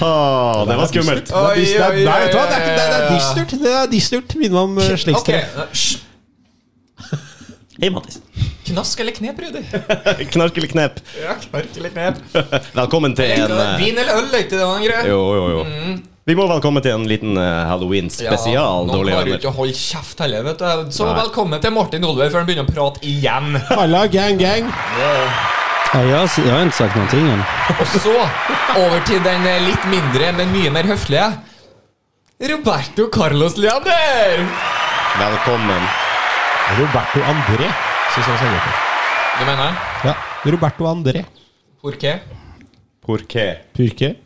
det var skummelt. Oi, Det er, oi, oi, nei, vet du hva? Det er, ikke- det er oi, oi. dystert. Det er dystert, minner om eh, Ok, slektstrekk. hysj. Hei, Mattis. Knask eller knep, Rudi? Knark eller knep. Ja, knark eller knep. Velkommen til en eh, Vin eller øl, er ikke det han greier? Jo, jo, jo. Vi må velkommen til en liten eh, halloween-spesial. Noen Dårlig klarer jo venner. ikke å holde kjeft heller, vet du. Så Nei. velkommen til Martin Olve før han begynner å prate igjen. Halla, gang, gang. Ja, jeg, har, s- jeg har ikke sagt noen ting ennå. Og så over til den eh, litt mindre, men mye mer høflige. Roberto Carlos Leander! Velkommen. Roberto André. Synes jeg skal gå for. Du mener? Ja, Roberto André. Hvor hva? Porqué? Purke.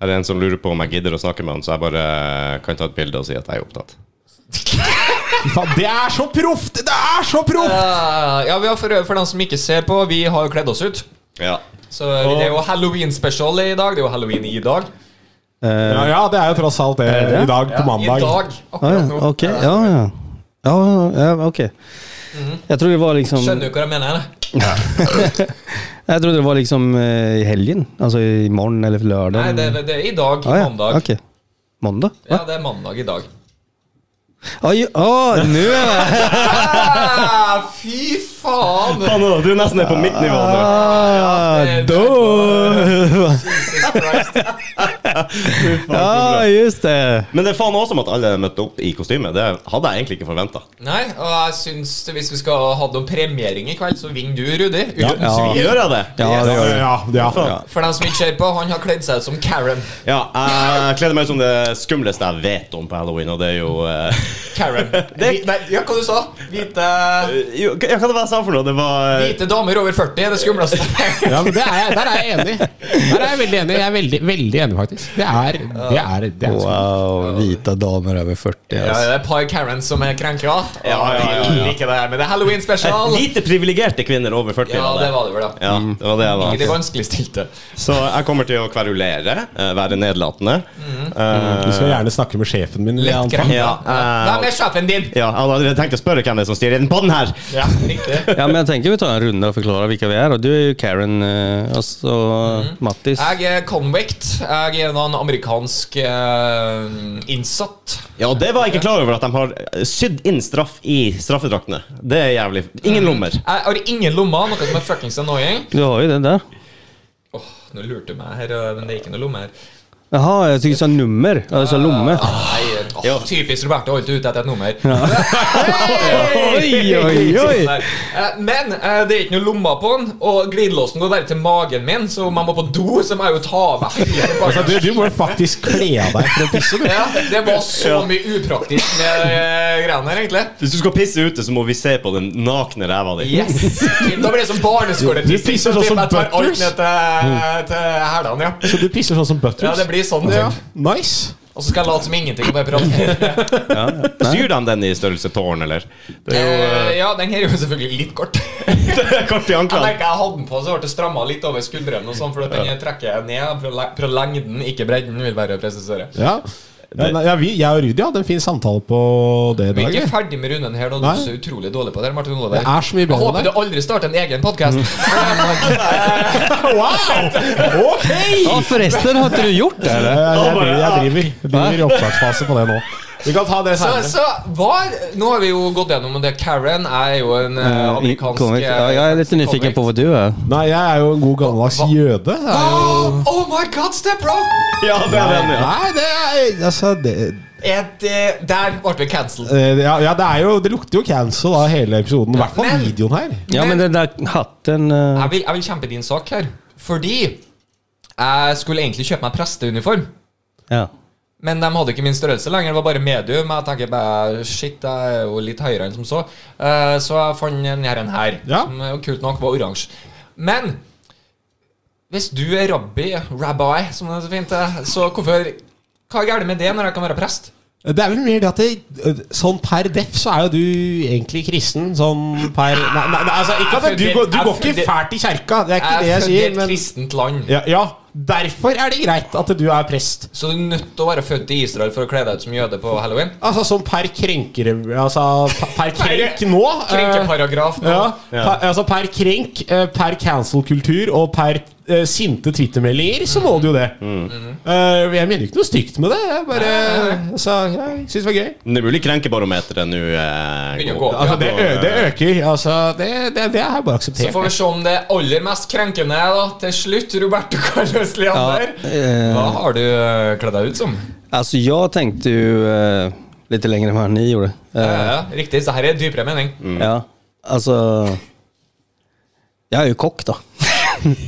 Er det en som lurer på om jeg gidder å snakke med han, så jeg bare eh, kan ta et bilde og si at jeg er opptatt? Fy faen, det er så proft! Det er så proft! Eh, ja, vi har for, for dem som ikke ser på, vi har jo kledd oss ut. Ja. Så det er jo halloween-special i dag. Det er jo halloween i dag. Ja, ja, det er jo tross alt det i dag på I mandag. dag, Eh, Ah, akkurat ja, nå. ok, ja, ja. Ja, ja, ok. Jeg trodde det var liksom Mhm. Skjønner du hva jeg mener? eller? Jeg trodde det var liksom eh, i helgen. Altså i morgen eller lørdag. Nei, det, det er i dag. Ah, ja, Mandag. ok. Mandag? Ja, Hva? det er mandag i dag. Ah, ju- ah, nå er jeg Ah, fy faen! Faen, nå, du er nesten nede på mitt nivå nå. ah, da. Jesus Christ. Ja, just det. Men det er faen awesome at alle møtte opp i kostyme. Det hadde jeg egentlig ikke forventa. Nei, og jeg syns hvis vi skal ha noen premiering i kveld, så vinner du, Rudi. Uten Ja. svir. Gjør jeg det? Ah. Ja, det gjør det. Ja, ja. For dem som ikke ser på, han har kledd seg ut som Karen. Ja, jeg kledde meg ut som det skumleste jeg vet om på halloween, og det er jo eh, Karen. Det- Vi- Nei, ja, hva du sa Hvite jo, Hva hva det var jeg sa for noe? Det var eh, Hvite damer over 40 er det skumleste. Ja, men det er jeg, der er jeg enig. Der er jeg veldig enig. Jeg er veldig, veldig enig, faktisk. Det er Det er, det er Wow, hvite damer over 40. Ja, Altså. det er et par Karens som er krenka. Ja, ja, ja, ja. De liker det her, men det er halloween Eh, special. Hvite privilegerte kvinner over 40. Ja, det var Mm. det vel, da. Ja, det var det jeg Ikke de var. vanskeligstilte. Så jeg kommer til å kverulere, eh, være nedlatende. Du Mm. Eh, skal gjerne snakke med sjefen min. eller Lett annet. krenka. Ja, eh, Hvem er sjefen din? ja, jeg hadde allerede tenkt å spørre hvem det er som styrer den podden her. Ja, riktig. Ja, men jeg tenker vi tar en runde og forklarer hvilke vi er. Og du er jo Karen eh, og så Mattis. Mhm. Jeg er convict. Jeg er en amerikansk eh, innsatt. Ja, og det var jeg ikke klar over, at de har eh, sydd inn straff i straffedraktene. Det er jævlig. Mm. Ingen lommer. Jeg har ingen lommer, noe som er fuckings annoying. Du har jo det der. Åh, nå lurte du meg her, øh, men det er ikke noe lomme her. Jaha, jeg tykte du sa nummer. Altså lomme. Nei, Ah, åh, Ja. Typisk Roberto, alltid ute etter et nummer. Oi, oi, oi! Nei. Eh, Men eh, det er ikke noe lommer på den, og glidelåsen går bare til magen min, så om jeg må på do, så må jeg jo ta av meg hele Altså, du, bagasjen. du må faktisk kle av deg for å pisse. du. Ja, det var så mye upraktisk med eh, greiene her, egentlig. Hvis du skal pisse ute, så må vi se på den nakne ræva di. Yes! Da blir det som barneskolepissing. Du pisser sånn som Jeg tar alt Butters. ned til, til hælene, ja. Så du pisser sånn som Butters? Ja, det blir sånn. Ja. Ja. Nice. Og så skal jeg late som ingenting og bare prate. Syr de den i størrelse tårn, eller? Det er jo Eh, Ja, den her er jo selvfølgelig litt kort. det er kort i Jeg anklene. merker jeg hadde den på, så ble det stramma litt over skuldrene. og sånn, For at den trekker ned fra le- fra lengden, ikke bredden. vil være å presisere. Ja. Ja, nei, ja, vi, jeg og Rudi hadde en fin samtale på Vi det er dagen. ikke ferdig med runden her, da. Du er Nei. så utrolig dårlig på det. her, Martin Olav. Det er så mye Jeg bedre håper du enn deg. aldri starter en egen podkast. Wow! Ok! Ja, forresten, har ikke du gjort det? Jeg, jeg, driver, jeg driver, driver i oppstartsfase på det nå. Vi kan ta det så, senere. så var, Nå har vi jo gått gjennom det. Karen er jo en eh, amerikansk Konvikt. Ja, jeg er litt nysgjerrig på hva du er. Nei, jeg er jo en god gammeldags jøde. Jeg er jo- Oh, oh my god, step bro! Ja, det er den, ja. Nei, det er Altså, det Er det, eh, der ble vi cancelled. Eh, Ja, ja det, er jo, det lukter jo cancel av hele episoden. I hvert fall Men- videoen her. Ja, men den der hatten eh, Jeg vil, jeg vil kjempe din sak her. Fordi jeg skulle egentlig kjøpe meg presteuniform. Ja. Men de hadde ikke min størrelse lenger, det var bare medium. Jeg tenker bare, shit, jeg er jo litt høyere enn som så. Eh, Så jeg fant den her, en her Ja. som jo kult nok var oransje. Men hvis du er rabbi, rabbi, som det er så fint er, så hvorfor Hva er galt med det når jeg kan være prest? Det er vel mer det at det, sånn per def så er jo du egentlig kristen. Sånn per Nei, nei, nei altså, ikke at du, går- du går ikke fælt i kjerka, det er ikke Jeg det er jeg født i sier, et men kristent land. ja, ja. Derfor er det greit at du er prest. Så du er nødt til å være født i Israel for å kle deg ut som jøde på halloween? Altså som per krenkere Altså per- per krenk nå. eh, Krenkeparagraf. nå. Ja, Per, altså per krenk, eh, per cancel-kultur og per eh, sinte Twitter-meldinger, så må du jo det. Eh, jeg mener ikke noe stygt med det. Jeg bare altså, jeg syns det var gøy. Det er mulig krenkebarometeret nå eh, går Begynner å gå opp. opp, ja. Altså, det, ø det øker. Altså, det, det, det er bare Så får å akseptere. vi se om det aller mest krenkende er da til slutt. Roberto Carlos Leander. Ja, eh. altså, Hva har du eh, kledd deg ut som? Alltså jag tänkte ju eh, lite längre än vad ni gjorde. Eh, Mm. Ja, ja, riktig, så her er dypere mening. Ja, altså, alltså. Jag är ju kock då.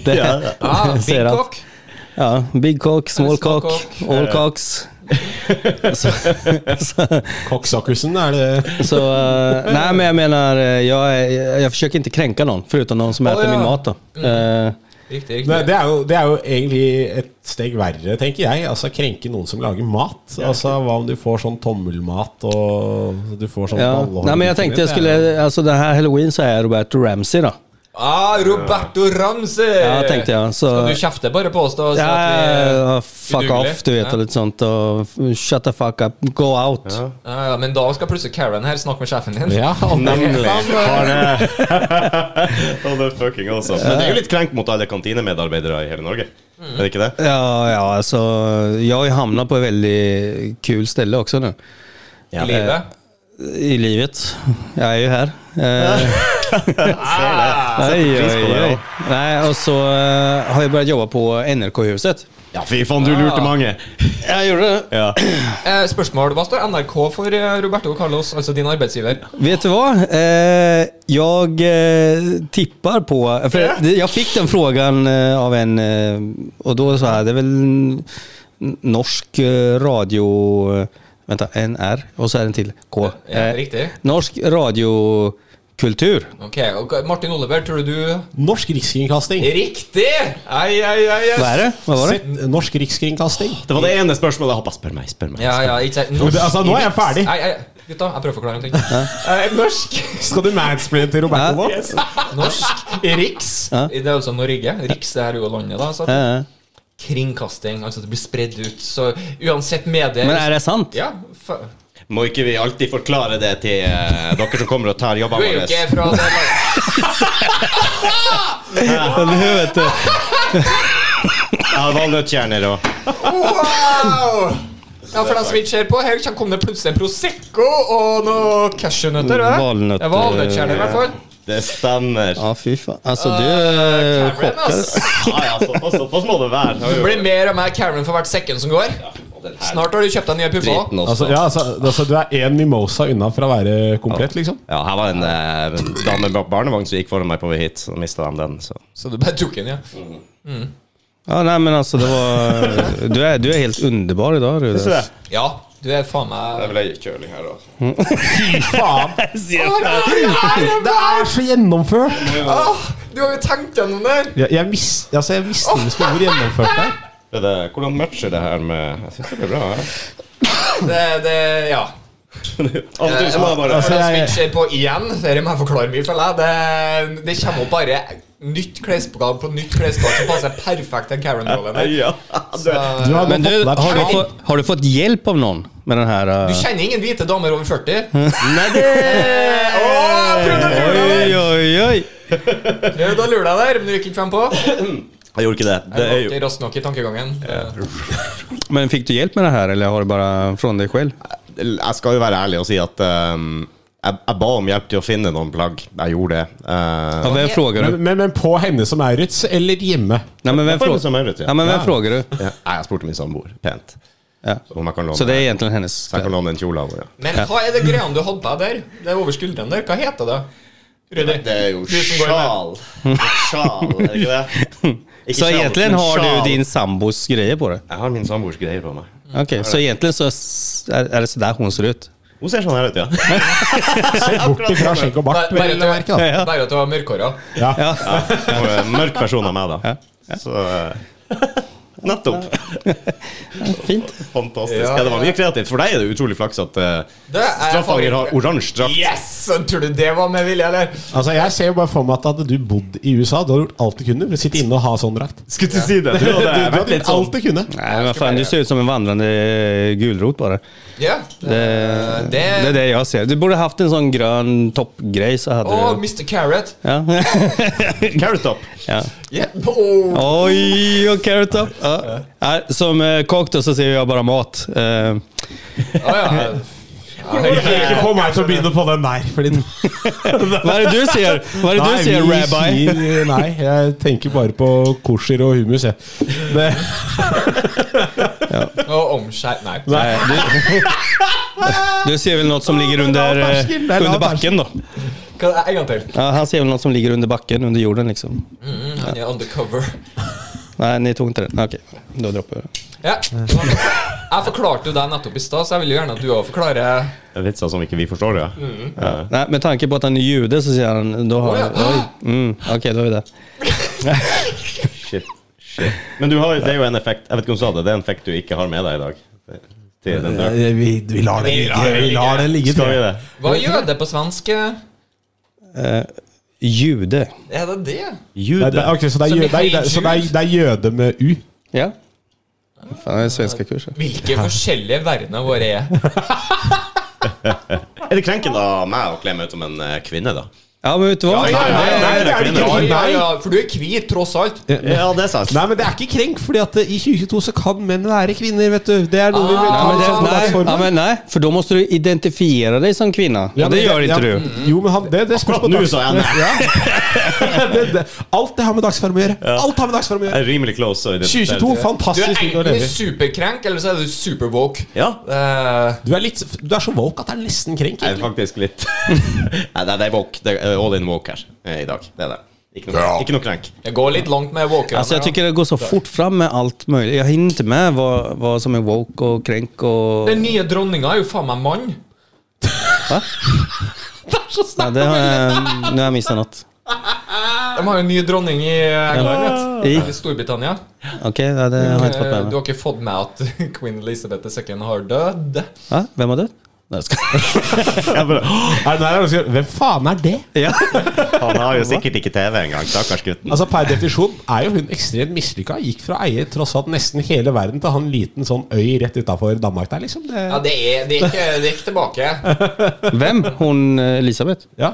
det, Ah, jag Big ser att- cock. Ja, big cock, small Eller small cock, cock. all cocks. Cocksockersen er det Så, eh, nej men jag menar, eh, jag, är, jag försöker inte kränka någon förutom någon som Ja, äter ja. min mat då. Eh, Riktig, riktig. Nei, det er, jo, det er jo egentlig et steg verre, tenker jeg. Altså Krenke noen som lager mat. Altså Hva om du får sånn tommelmat og du får sånn ja. ballehår- Nej men jag tänkte jag skulle, alltså den här halloween så är jag Roberto Ramsey då. Ah, Roberto Ramsey! Ja, tenkte jeg, så- Skal du kjefte bare på oss, da? Så Ja, at vi, ja, Ah, fuck udugelig. off du vet Ja. och lite sånt och shut the fuck up, go out. ja, ja, men da skal plutselig Karen her snakke med sjefen din. ja, Nemlig. Har det. oh, det er fucking awesome. Men det er jo litt krenk mot alle kantinemedarbeidere i hele Norge. Er det ikke det? Ja, ja, alltså jag har ju hamnat på ett väldigt kul ställe också nu. I livet. I livet. Jag är ju här. Eh, Ah, oj, pris på oj, det, oj. Nej, och så eh, har jag börjat jobba på NRK-huset. Ja, fy faen, du lurte mange. Jag gjorde det. Ja. eh, spørsmål. Hva står NRK for, eh, Roberto Carlos, altså din arbeidsgiver? Vet du vad? Eh, jag eh, tippar på... För det- Jag fick den frågan eh, av en eh, och då sa jag, det är väl en norsk eh, radio... eh, Vänta, NR och så är det en till K. Ja, Eh, riktig. norsk radiokultur. Ok, og Martin Oliver, tror du du Norsk rikskringkasting. Riktig! Ai, ai, ai, ai. Vad är det? Vad var det? Sett- eh, Norsk rikskringkasting. Det var det ene spørsmålet jeg hoppa. Spør meg, spør meg. Ja, ja, ikke sant. Men det- altså, nå er jeg ferdig. Nei, nei, gutta, jeg prøver å forklare en ting. Eh, norsk Skal du mansplaine til Roberto nå? Norsk Riks. Ja. Det er altså Norge. Riks det er jo landet, da. Så Ja, ja. kringkasting, altså at det blir spredd ut. Så uansett medier Men är det sant? Ja, fa- Må ikke vi alltid forklare det til eh, dere som kommer og tar Du jobbene er jo våre? ikke fra det landet. Eller hur vet du? Ja, valnøttkjerner og Wow! Ja, for dem som ikke ser på, her kan- kom det plutselig en Prosecco og noe cashewnøtter. hva? Valnøtter. Ja, Valnøttkjerner, i hvert fall. Det stemmer. Ah. Ja, fy fan. Alltså du är Karen, chockad. ass. Ja, ja, såpass, såpass må det være. Det blir mer og mer Karen for hvert sekund som går. Snart har du kjøpt deg nye pupper. også. Driten Altså, også. ja, altså, altså, du er én mimosa unna fra å være komplett, liksom. Ja, her var en eh, dame med barnevogn som gikk foran meg på vei hit. Så mista de den. Så. Så du bare tok den, ja. Ja, nej men alltså det var... Du är, du är helt underbar idag Rude. Ja, du er faen meg ble kjøling her altså. òg. Faen! Det er så gjennomført! Åh, Du har jo tenkt gjennom det! Jeg, jeg, mis, altså, jeg mistrives med hvor gjennomført det er. Hvordan matcher det her med Jeg syns det blir bra. jeg. Det, det ja. Alt du som har bare Altså, For dem som jeg- ikke ser på igjen, dette må jeg forklare mye, føler jeg. Det, det kommer opp bare nytt klesplagg på nytt klesplagg som passer perfekt til Karen-rollen. her. Ja, Så- Du har Men nå du, fått har deg du, fått, har du fått hjälp av någon med den här... Du eh, kjenner ingen hvite damer over 40? Nei, det Eh, Å, jeg prøvde å lure deg der! Oj, oj, oj! Prøvde å lure deg der, men du gikk ikke frem på. Jeg gjorde ikke det. Jeg Det var er jo ikke rask nok i tankegangen. Men fick du hjälp med det här eller har du bara från dig själv? Jeg skal jo være ærlig og si at ehm, jeg, jeg ba om hjelp til å finne noen plagg. Jeg gjorde det. Eh, Ja, vem frågar men, du? men, men på henne som er ruts, eller hjemme? Nej men får vem det frågar som är rätt, ja. Ja men vem frågar du? ja, Nei, jeg spurte min samboer pent Ja. om jeg kan låne, Så det är egentligen hennes... så jeg kan låne en kjole av henne. Men hva er det greiene du hadde på deg der? Det er over skulderen der. Hva heter det? Rudi? Det er jo Du som går med. sjal. Sjal, er det ikke det? Ikke Så sjal, egentligen men har sjal. du din sambos grejer på dig? Jeg har min samboers greier på meg. Okej, så egentligen så s- är, är det sådär hon ser ut? Hun ser sånn her ut, ja. Bort ifra skjegg og Bare bart. bare at du merke, da. bare at du har mørkhåra. Ja. Hun er en Mørk versjon av meg, da. Så eh, Nettopp. Fint. Fantastisk. Ja, Ja, det var mye kreativt. For deg er det utrolig flaks at uh, Det er- straffanger har oransje drakt. Yes! Tror du det var med vilje, eller? Altså Jeg ser jo bare for meg at hadde du bodd i USA, du hadde gjort alt du kunne for å sitte inne og ha sånn drakt. Skulle til å si det. Du Du, du hadde hadde vært litt gjort sånn alt du kunne. Nej, men fan, du ser ut som en vandrande eh, gulrot bara. Ja. Det, Eh, det... det- är det jag ser. Du borde haft en sånn grön toppgrej så hade Å, du... Mr. Carrot. Ja. carrot up. ja. Yeah. Åh. Oj, och carrot top. Ja. Nej, Som eh, kock då så ser jag bara mat. Eh, Å, ja. Ikke få meg til å begynne på den der. Fordi Vad är det du ser? Vad är det du ser, vi rabbi? sier- nei, jeg tenker bare på kosher og hummus. Jeg. Det, Og omskjær... Nei. Nej, du... du ser väl något som ligger under, eh, Perskin, det är under lav backen då? Hva- En gang til. Ja, han ser väl något som ligger under backen, under jorden liksom. Mm, Han er undercover. Nej, ni tog inte den. Okej, då droppar jag. Ja. Jeg forklarte jo deg nettopp i stad, så jeg vil jo gjerne at du òg forklarer. Vitser som ikke vi forstår, ja. Mm. ja. Nej, med tanke på att han är jude så säger han... Då har Oj. han oj. Mm, Okej, då är vi där. Shit. Shit. Men du har, det er jo en effekt Jeg vet ikke om du sa det, det er en effekt du ikke har med deg i dag. Til den drakten. vi, vi lar den ligge. Vi lar den ligge Skal vi tror jeg. det? Hva gjør det på svensk? Er Jude. det det? Nei, Jude. det- ok, så det er, jø- det, er, så det, er, det er jøde med u? Ja. Fan, det är svenska kurser. Hvilke forskjellige verdener våre er. Er det krenkende av meg å kle meg ut som en eh, kvinne, da? Ja, men vet du vad? Ja, ja, ja. Nei, det er det Ja, ikke. ja, ja, Nei. for du er hvit, tross alt. Ja, det er sant. Nei, men det er ikke krenk, fordi at eh, i 2022 så kan menn være kvinner, vet du. Det er noe vi vil Ah, ta Ja, men som det, nej, dagsform. ja, men nej, för då måste du identifiera dig som kvinna. Ja, Och det men- gör inte ja, du. Jo, men han, det, det spørs på Nå dags- sa jeg nei. det, det, Alt det har med dagsform å gjøre. Alt har med dagsform å Jeg gjøre. er rimelig close. og identitet. 2022, Du er fantastisk. tid å enten leve i. superkrenk, eller så er du superwoke. Ja. Eh, Du er, litt, du er så woke at det er nesten krenk. Jeg er egentlig. faktisk litt Nei, det er- det er walk. Det er all in walk her eh, i dag. Det er det. Ikke noe, ikke noe krenk. jeg går litt langt med walkerne. Alltså jag da. tycker det går så fort fram med allt möjligt. Jag hinner inte med vad, vad som är woke och kränk och... Den nye dronninga er jo faen meg mann. Ja, det har jag, nu har jag missat något. De har jo en ny dronning i England, vet I- du. Eller Storbritannia. Okej, ja, det har jag inte fått Eh, med Du Mm, mig. har ikke fått med at queen Elizabeth II har dødd? eh, Va? Vem har dött? Nej, jag skojar. Jeg bare, Nei, nei, nei, nei, Hvem faen er det? Ja. Han har jo sikkert ikke TV engang. Stakkars gutten. Altså Per definisjon er jo hun ekstremt mislykka. Gikk fra å eie tross alt nesten hele verden til å ha en liten sånn øy rett utafor Danmark der, liksom. Det, Ja, det er, det er, ikke, det er ikke tilbake. Vem? Hon eh, Elisabeth? ja.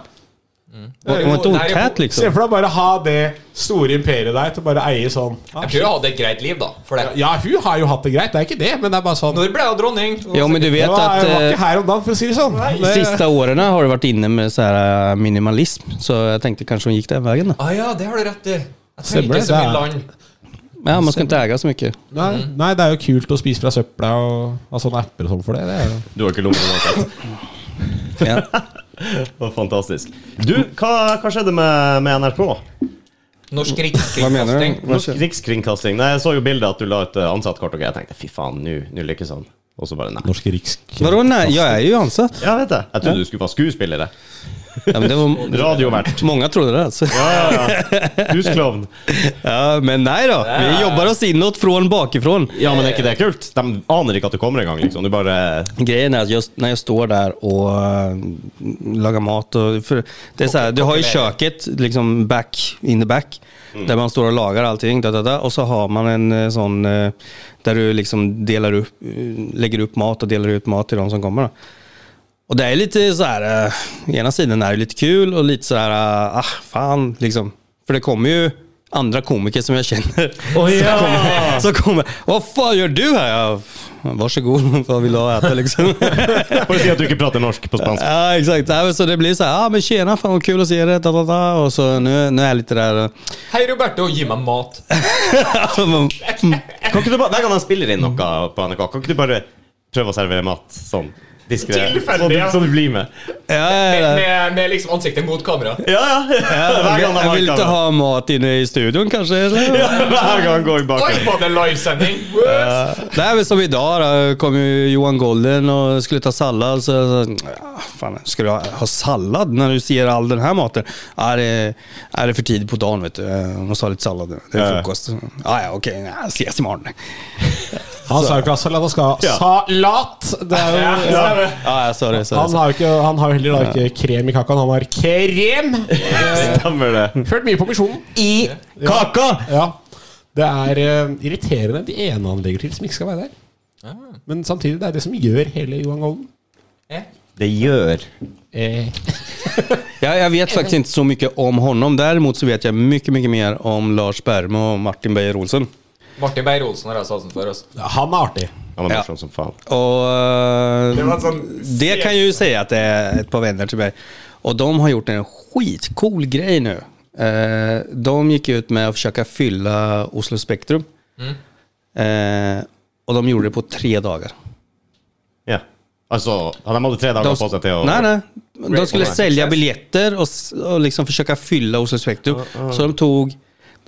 Var var inte hon Nej, tät Se liksom? for deg bare ha det store imperiet der til å bare eie sånn ah, Jeg tror jeg hadde et greit liv, da. For det. Ja, hun har jo hatt det greit, det er ikke det, men det er bare sånn Når ble jeg dronning? Jo, men du Jeg vet var, att... jeg var eh, ikke her om dagen, for å si det sånn. De Det- siste årene har du vært inne med så her eh, minimalism, så jeg tenkte kanskje hun gikk den veien. da. Ah, ja, det har du rett i. Jeg trenger ikke Stemmer det, så det mye er- land. Ja, Man skal ikke eie så mye. Nei, nei, det er jo kult å spise fra søpla og ha sånne apper og sånn for det. det er jo. Du har ikke lommer uansett. Ja. Det var Fantastisk. Du, hva, hva skjedde med, med NRK? Norsk Hva mener rikskringkasting. du? Hva Norsk skjer? Rikskringkasting. Nei, jeg så jo bildet at du la ut eh, ansattkort, og jeg tenkte fy faen, nå nå lykkes han. Og så bare nei. Norsk rikskrim. Vadå, nei, jeg er jo ansatt. Ja, vet jeg. Jeg trodde du skulle være skuespiller. det. Ja, men det var, Radiovert. mange trodde det, altså. Ja, ja, ja. Husklovn. Ja, men nei da. Vi jobber oss innåt fra bakifra. Ja, men er ikke det kult? De aner ikke at du kommer engang, liksom. Du bare Grejen er at just når jeg står der og eh, lager mat og for det er så her, Du har jo kjøkkenet liksom back in the back, der man står og lager allting. Da, da, da, og så har man en eh, sånn eh, der du liksom deler upp, eh, legger opp mat og deler ut mat til de som kommer. Da. Og det er litt så her eh, ena siden er det litt kul, og litt så her eh, ah, faen, liksom. For det kommer jo andre komikere som jeg kjenner. som, kommer, som kommer. Hva faen gjør du her? Ja, vær så god, hva vil du ha å ete, liksom? Bare si at du ikke prater norsk på spansk. Ja, exakt. Ja, men Så det blir så här, ah, men tjena, fan vad kul att se dig, da, da, da. Och så nu, nu är jag lite där, Hei, Roberto, gi meg mat. Kan ikke du bare, Hver gang han spiller inn noe på NRK, kan ikke du bare prøve å servere mat sånn? diskré. Tilfeldig, Så, du- ja. så du blir med. Ja, ja, ja. Med, med liksom ansiktet mot kamera. Ja, ja. Hver gang han Jeg har vil ikke kamera. ha mat inne i studioen, kanskje? Eller? Ja, Hver gang han går i Oi, bakgrunnen. var det livesending? Whoops. Nej men som idag då, kom ju Johan Golden och skulle ta sallad. Så, så ja, fan, ska du ha, ha sallad när du ser all den här maten? Är det, är det för tid på dagen vet du? Eh, Jag måste ha lite sallad nu. Det är Ja. frukost. Ja, ja okej, ja, ses imorgon. Han sa jo ikke at salat, han skal ha Ja. salat! Det er Ja, jo, stemmer. Ja, jeg sa det. sa det, han, sa det. har jo ikke, han har jo heller da ikke krem i kaka, han har krem! Stemmer det. Hørt mye på Misjonen. I kaka! Ja. Det er eh, irriterende de ene han legger til, som ikke skal være der. Men samtidig, det er det som gjør hele Johan Golden. Ah, Eh, Ja. Det gjør. Ja, jag vet faktiskt inte så mycket om honom. Däremot så vet jag mycket, mycket mer om Lars Berme og Martin Beyer Olsen. Martin Beyer-Olsen har jeg sansen for. Altså. Han er artig. Han var Ja. morsom som faen. Og eh, Det var en sånn det kan jeg jo si at det er et par venner til meg. Og de har gjort en skitcool greie nå. Eh, de gikk ut med å forsøke å fylle Oslo Spektrum. Eh, og de gjorde det på tre dager. Ja. Altså, han hadde tre dager på seg til å nei, nei. De skulle Great. selge billetter og, s- og liksom forsøke å fylle Oslo Spektrum. Så de tok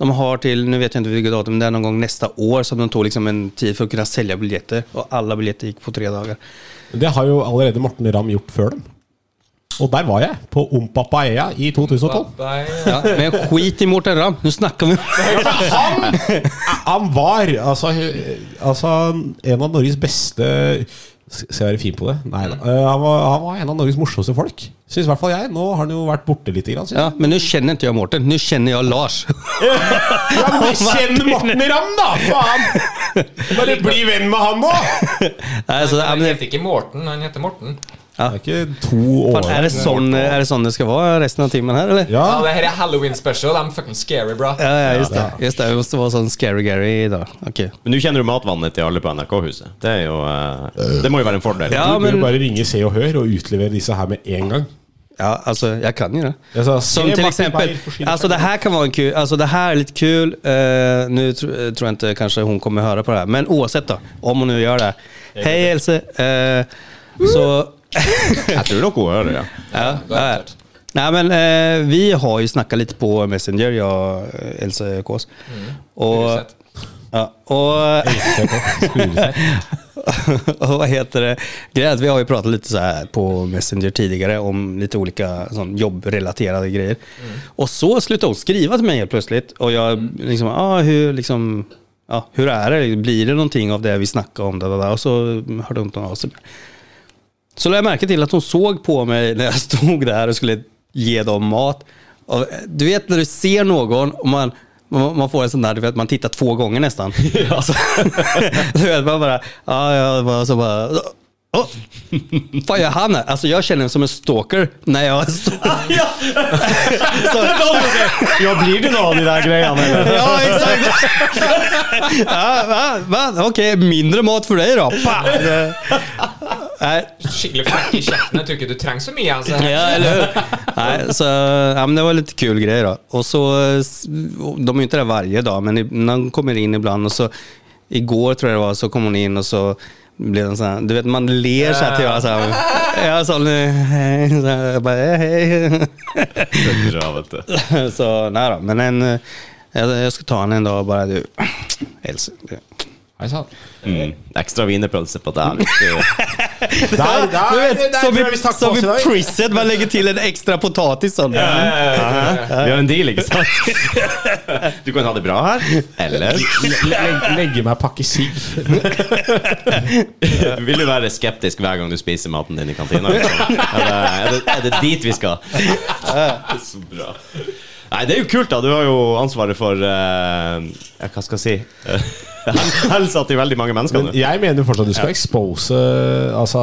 De har til nu vet jeg ikke hvilket datum, det er noen gang neste år som de tok liksom en tid for å kunne selge billetter. Og alle billetter gikk på tre dager. Det har jo allerede Morten Ramm gjort før dem. Og der var jeg, på Ompapaea i 2012. Bye. Ja, men skit i Mårten Ramm, nå snakker vi Han, han var altså, altså en av Norges beste Skal jeg være fin på det? Nei da. Eh, Han var, han var en av Norges morsomste folk. Syns i hvert fall jeg. Nå har han jo vært borte litt. Grann, Ja, men nå kjenner ikke jeg Mårten, nå kjenner jeg Lars. Ja, men Kjenn Morten Ramm, da! Faen! Bare bli venn med han nå! Nei, så, ja, Han men det, heter ikke Morten, han heter Morten. Det er ikke to år fan, er, det sånn, er det sånn det skal være resten av timen her, eller? Ja, Ja, det her er Halloween special. I'm fucking scary, bra. Ja, ja, just det. Just det, det måste vara sånn Scary Gary idag. Okej. Men nå kjenner du matvannet til alle på NRK-huset. Det er jo eh, Det må jo være en fordel. Ja, Du men bør bare ringe Se og Hør og utlevere disse her med en gang. ja, alltså, jag kan ju det. Jeg sa, Som se till Martin exempel, Beyer forsvinner alltså det här kan vara en kul, alltså det här är lite kul, Eh, nu tr tror jag inte kanske hon kommer höra på det här, men oavsett då, om hon nu gör det. Hej Else! Eh, så Jeg tror nok hun hører det. Ja. Ja, garantert. Nej men eh, vi har ju snackat lite på Messenger, jag eh, Else Kås. Och, Furuseth. ja, och, och vad heter det? det är att vi har ju pratat lite så här på Messenger tidigare om lite olika sån, jobbrelaterade grejer. Och så slutade hon skriva till mig helt plötsligt och jag liksom, ah, hur liksom Ja, hur är det? Blir det någonting av det vi snackade om? Da, da, da. Och så hörde hon inte av sig. Så la jeg merke til at hun så på meg når jeg stod der og skulle gi dem mat. Og du vet når du ser noen, og man, man man får en sånn der, du vet, man titter to ganger nesten. Altså, du vet, man bare, ja, ja, bare, så bare, Åh, fan gör han här? Alltså jag känner mig som en stalker när jag står... ja, blir det noe av de der greiene? Eller? Ja, exakt! ja, va, va? Okej, mindre mat för dig då. Fan! Nej, Skikkelig frekk i kjeften. Jeg tror ikke du trenger så mye. Altså. Ja, eller hur? Nej, så, ja, men det var lite kul grej då. Och så, eh, s- de är ju inte där varje dag, men ib- när de kommer in ibland och så, igår tror jag det var, så kom hon in och så blev den så här, du vet man ler altså. så här till varandra så här. Jag sa nu, hej, sånn, eh, så här, jag bara, hej, hej. Ja, vet du. Så nej då, men en, eh, jag, jag ska ta henne en dag och bara du, Else. du. Hei sann. Mm. Ekstra wienerpølse på deg. hvis du- Der, der, Du der vet, som tror jeg i, vi stakk på som oss i i dag. Priset, man lägger till en extra potatis. sånn. Sån. Vi har en deal, ikke sant? Du kan ha det bra her, eller Legge, legge meg pakke sigg. Vil du være skeptisk hver gang du spiser maten din i kantina? liksom? Eller er det, er det dit vi skal? Så bra. Nei, det er jo kult, da. Du har jo ansvaret for eh, ja, Hva skal jeg si? Eh, hel- Helsa til veldig mange mennesker. Men nå. jeg mener fortsatt du skal expose altså,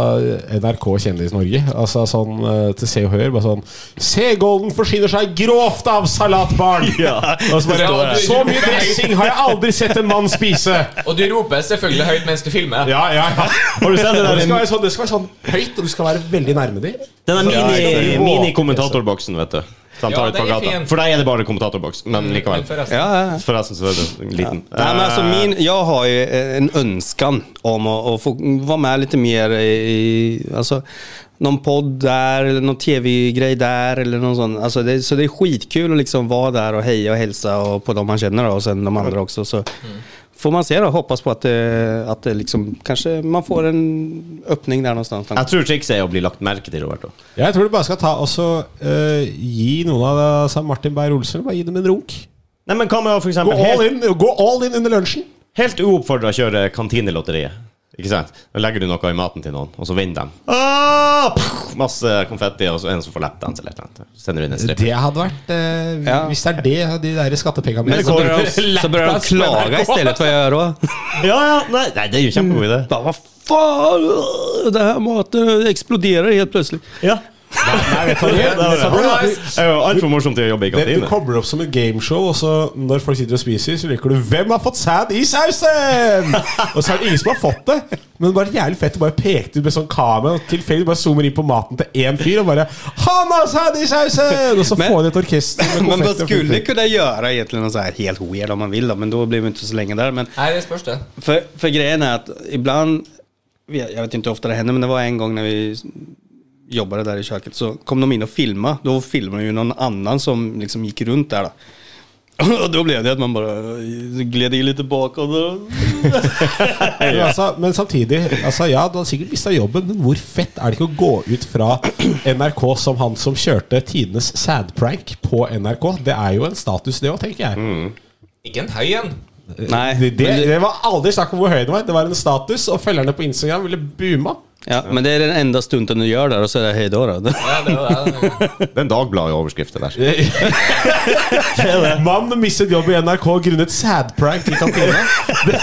NRK Kjendis-Norge. Altså sånn eh, til Se og Hør. Bare sånn Se Golden forsyner seg grovt av salatbarn! Ja. Og så bare Ja, du- Så mye dressing har jeg aldri sett en mann spise! Og du roper selvfølgelig høyt mens du filmer. Ja, ja, ja. Har du sett det Og der? Det skal, være sånn, det skal være sånn høyt, og du skal være veldig nærme dem. Den Ja, mini- jeg ser det. mini-kommentatorboksen, vet du. Så han Ja, tar ut på den er Mm. gata. fin. For der er det bare kommentatorboks, men Men likevel. Ja, forresten, ja. Forresten så er det en liten. Nej, men Eh. alltså min, jag har ju eh, en önskan om att, att få vara med lite mer i, alltså, någon podd där eller någon tv-grej där eller någon sån. Alltså det, så det är skitkul att liksom vara där och heja och hälsa och på de man känner då, och sen de andra också. Så får man se då, hoppas på att det, att det liksom, kanske man får en öppning där någonstans. Eh, Jeg tror trikset er å bli lagt merke til, Roberto. Jeg tror du bare skal ta og så eh, gi noen av altså Martin Beyer-Olsen Bare gi dem en runk. Nei, men hva med å for Gå eksempel all helt, in, gå all in under lunsjen. helt uoppfordra kjøre kantinelotteriet? Ikke sant? Da legger du noe i maten til noen, og så vinner de. Ah, pow, masse konfetti, og så en som får lapdance eller et eller annet. Så Sender du inn en stripp. Det hadde vært eh, Ja. Hvis det er det de der skattepengene Men mine så går börjar til. de, så börjar de klaga istället, vad jag gör då? Ja, ja, nei, nei, det er jo kjempegod idé. Bara, vad fan, det här maten exploderer helt plötsligt. Ja. Det Det var var bra. det. Det er jo altfor morsomt til å jobbe i Det, du kantine. kobler opp som et gameshow, og så når folk sitter og spiser, så leker du 'Hvem har fått sæd i sausen?!' Og så er det ingen som har fått det. Men det var jævlig fett å bare peke ut med sånn kamera og tilfeldig bare zoomer inn på maten til én fyr og bare 'Han har sæd i sausen!' Og så Men- får de et orkester med Men man konfetti og skulle fullt. kunna göra egentligen något så här helt weird om man vill då, men då blir vi inte så länge där. Men Nei, det spørs, det. för, för grejen är att ibland, jag jag vet inte hur ofta det händer, men det var en gång när vi jobbade där i köket så kom de in och filmade. Då filmade ju någon annan som liksom gick runt där. Då. Och då blev det att man bara eh, gled in lite bakåt. och- Men, altså, men samtidig, altså ja, du hadde sikkert mista jobben, men hvor fett er det ikke å gå ut fra NRK som han som kjørte tidenes sædprank på NRK? Det er jo en status, det òg, tenker jeg. Ikke en høy en. Nej, Eh, Det, det, men det- det var aldri snakk om hvor høy den var. Det var en status, og følgerne på Instagram ville booma. ja, men det är den enda stunden du gör där och så är det hej då. då. Ja, det var det. Det er en Dagbladet-overskrift, det der. Mann mistet jobb i NRK grunnet sædprank i kantina. Det,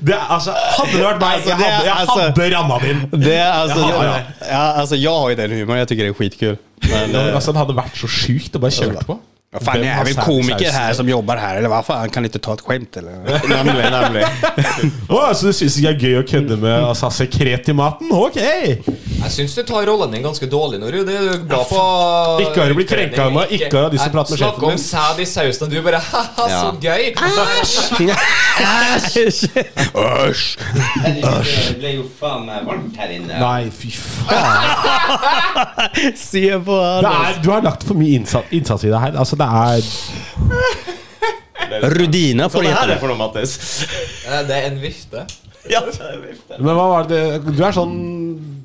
det, altså, hadde det vært meg, Altså, jeg det er- hadde, jeg altså- hadde ramma det inn. Det är alltså, Ja, ja. ja, alltså, jag har ju den humorn, jag tycker det är skitkul. Men, Ja, eh, men Altså, det hadde vært så sjukt å bare kjøre på. Ja, fan, Hvem det har är väl sæd i komiker sausen? här som jobbar här, eller vad fan, kan inte ta ett skämt eller? Nemlig, nemlig. Å, så du syns ikke det er gøy å kødde med altså, sekret i maten? Ok! Jeg syns du tar rollen din ganske dårlig, Noru. Det er du bra på Ikke har du blitt krenka av meg, ikke har de som prater med sjefen Snakk min. om sæd i sausen, og du bare ha-ha, så gøy. Æsj! Æsj! Det ble jo faen meg varmt her inne. Nei, fy faen. Se på Det han! er, du har lagt for mye innsats, innsats i det her. Altså, det er Rudina Hva får det her heta er for noe, Mattis? Eh, Det er en vifte. Ja, det er vifte. Men hva var det Du er sånn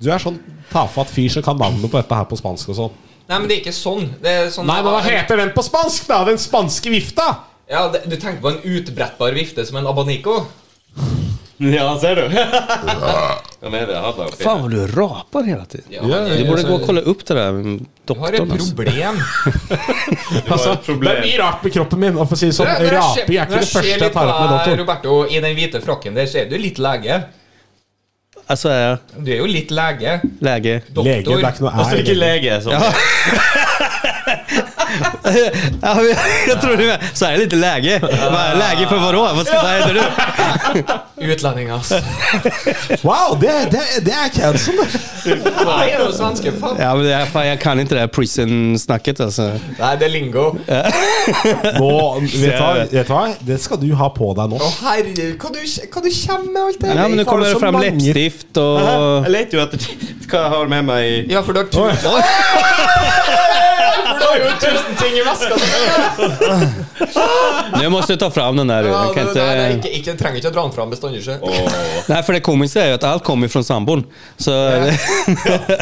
Du er sånn tafatt fyr som kan navnet på dette her på spansk og sånn. Nei, men det er ikke sånn. Det er sånn den på spansk, da? Den spanske vifta? Ja, det, Du tenker på en utbrettbar vifte som en abanico? Ja, ser du. Hva mener jeg? Hadde jeg Fan vad du rapar hela tiden. Ja, Ja, men- Du borde gå och kolla upp det där med Du har et doktorn. Alltså. problem. Det var et Det er problem. mye rart med kroppen min. Og for å si det sånn, Når jeg- når jeg ser- Raping er når ikke det første ser jeg litt tar opp med på deg, doktoren. Roberto, i den hvite frakken der, ser du litt lege. Alltså är jag Du er jo litt lege. läge? Lege, det er Doktor. ikke noe Altså ikke lege, sånn. Ja, men jag tror du med. Så här är lite läge. Bara, Läge för vadå? Vad ska- Vad heter du? Utlending, ass. Wow, det, det, det er cancel, det. Nei, er jo svenske, faen. Ja men det är, fan, jag kan inte det här prison-snacket alltså. Nei, det er lingo. Å, Nå, vet du hva? Vet du hva? Det skal du ha på deg nå. herregud, hva du, hva du kommer med alt det Ja men nu kommer det fram läppstift och... Jeg leter jo etter hva jeg har med meg i Ja, for du har tusen Oj. For du har jo tusen ting i veska! Nu måste jag ta fram den där. Ja, Jag kan det- nei, nei, inte... ikke, ikke, trenger ikke å dra den fram bestandig. ikke? Åh. Nej för det komiska är ju att allt kommer från sambon. Så...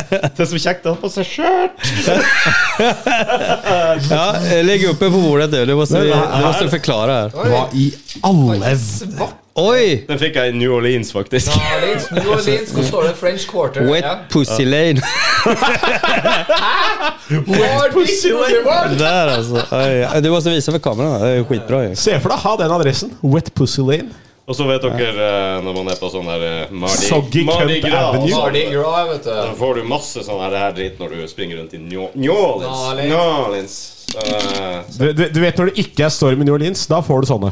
Det er så kjekt å ha på seg skjørt! Ja, eh, lägg upp den på bordet du. Du måste, Men du här- måste förklara. här. Oi, Hva i alle Svart Oj! Den fikk jeg i New Orleans, faktisk. Orleans, New Orleans, så står det French Quarter. Wet ja. pussy lane. Hard pussy lane. Där alltså. Oj, Du måste visa för kameran. Det är skitbra ju. Se for deg ha den adressen. Wet Pussy Lane. Og så vet dere eh, når man er på sånn der eh, Mardi, Soggy Mardi Cunt Gras, Avenue. Mardi Mardi Gras, vet Da du. får du masse sånn her, her dritt når du springer rundt i New, New Orleans. New New Orleans. Så, eh, Du, du, du vet når det ikke er storm i New Orleans, da får du sånne.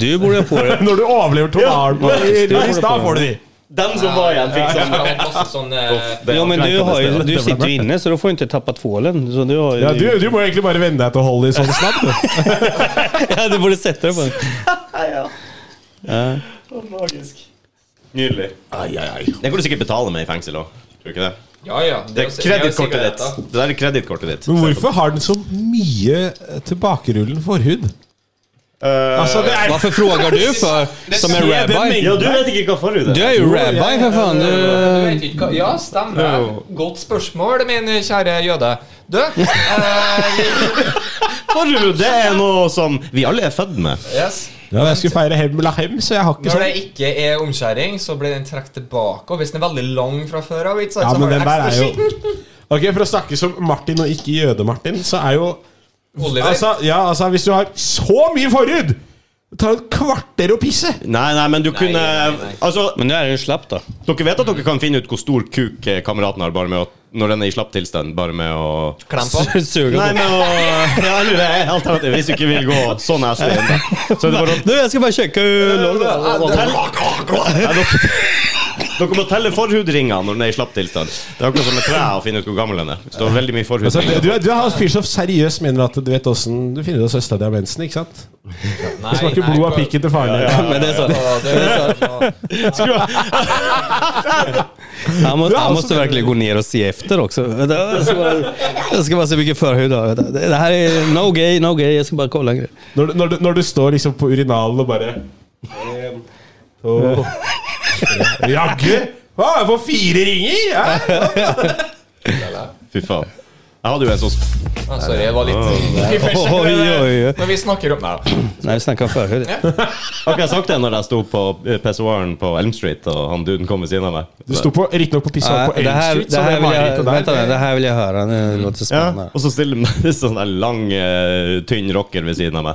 Du borde ha på dig. Når du overlever tornado, Ja. i New Orleans, da får du de. Dem som var igjen, fikk Som sånn. kan passe sånn eh, Det- Ja, men du, har ju, nästa. du sitter ju inne så du får inte tappa tvålen. Så du, har ju, Ja, du, du må egentlig bare vende deg til å holde i sånn sladd. du. ja, du borde sätta dig på den. Magisk. Nydelig. Den kan du sikkert betale med i fengsel òg. Det er Ja, ja. Det er kredittkortet ditt. Det der er kredittkortet ditt. Men hvorfor har den så mye tilbakerullen forhud? Eh, Altså, det er Varför frågar du för? Som en ser den rabbi? ja, du vet ikke hva forhud Du er. är ju rabbi för fan. Du Du... vet ikke hva- Ja, stemmer. Godt spørsmål, min kjære jøde. Du eh, Forhud det er noe som vi alle er født med. Yes. ja, Jeg skulle feire hem la hem, så jeg har ikke Når det sånn. ikke er omskjæring, så blir den trukket tilbake. Og hvis den er veldig lang fra før av, ikke sant, Ja, så men har den du der ekstra er jo skitten. Ok, For å snakke som Martin og ikke Jøde-Martin, så er jo Oliver. altså, ja, altså, Hvis du har så mye forhud, ta et kvarter å pisse! Nei, nei, men du kunne nei, nei. Altså, Men nu är den ju slapp då. dere vet at dere kan finne ut hvor stor kuk eh, kameraten har bare med å, når den er i slapp tilstand, bare med å Klem på. Suga Nei, på. med å Ja, eller det er alternativ. Hvis du ikke vil gå så nasty inn, da. Så er det bare å Du, jag ska bara checka hur lång den är. Tell- Ja, dere, dere må telle forhudringer når den er i slapp tilstand. Det er akkurat som med tre å finne ut hvor gammel den er. Så det var veldig mye Altså, du, forhudringer. du, er- du er han fyr som seriøst mener at du vet åssen du finner ut av søstera di har mensen, ikke sant? Nei, Det smaker nei, blod av gå- pikken til faren din. Men det är så. Ja, det er sånn. Han, må, han måste verkligen gå ner och se efter också. Vänta, Jag ska bara, jag ska bara se vilken förhud jag har. Vänta, Det det här är no gay, no gay. Jag ska bara kolla en grej. Når, du- når, du, når du står liksom på urinalen og bare En, to tre. Jaggu! Hva, jeg får fire ringer! Ja. Fy faen. Jeg hadde jo en sånn Ja, sorry, det var litt Oj, oj, oj. Når vi snakker om Nei da. Nej, vi snackar om förhud. Har ikke jeg sagt det når jeg sto på eh, pissoaren på Elm Street, og han duden kom ved siden av meg? Du sto på, riktignok på Nej, pissoar på det, Elm här, Street, det, så det här vill var jag, litt der. vänta, det här vill jeg höra. Nu låter det Ja, spännande. og så stiller en sånn der lang, eh, tynn rocker ved siden av meg.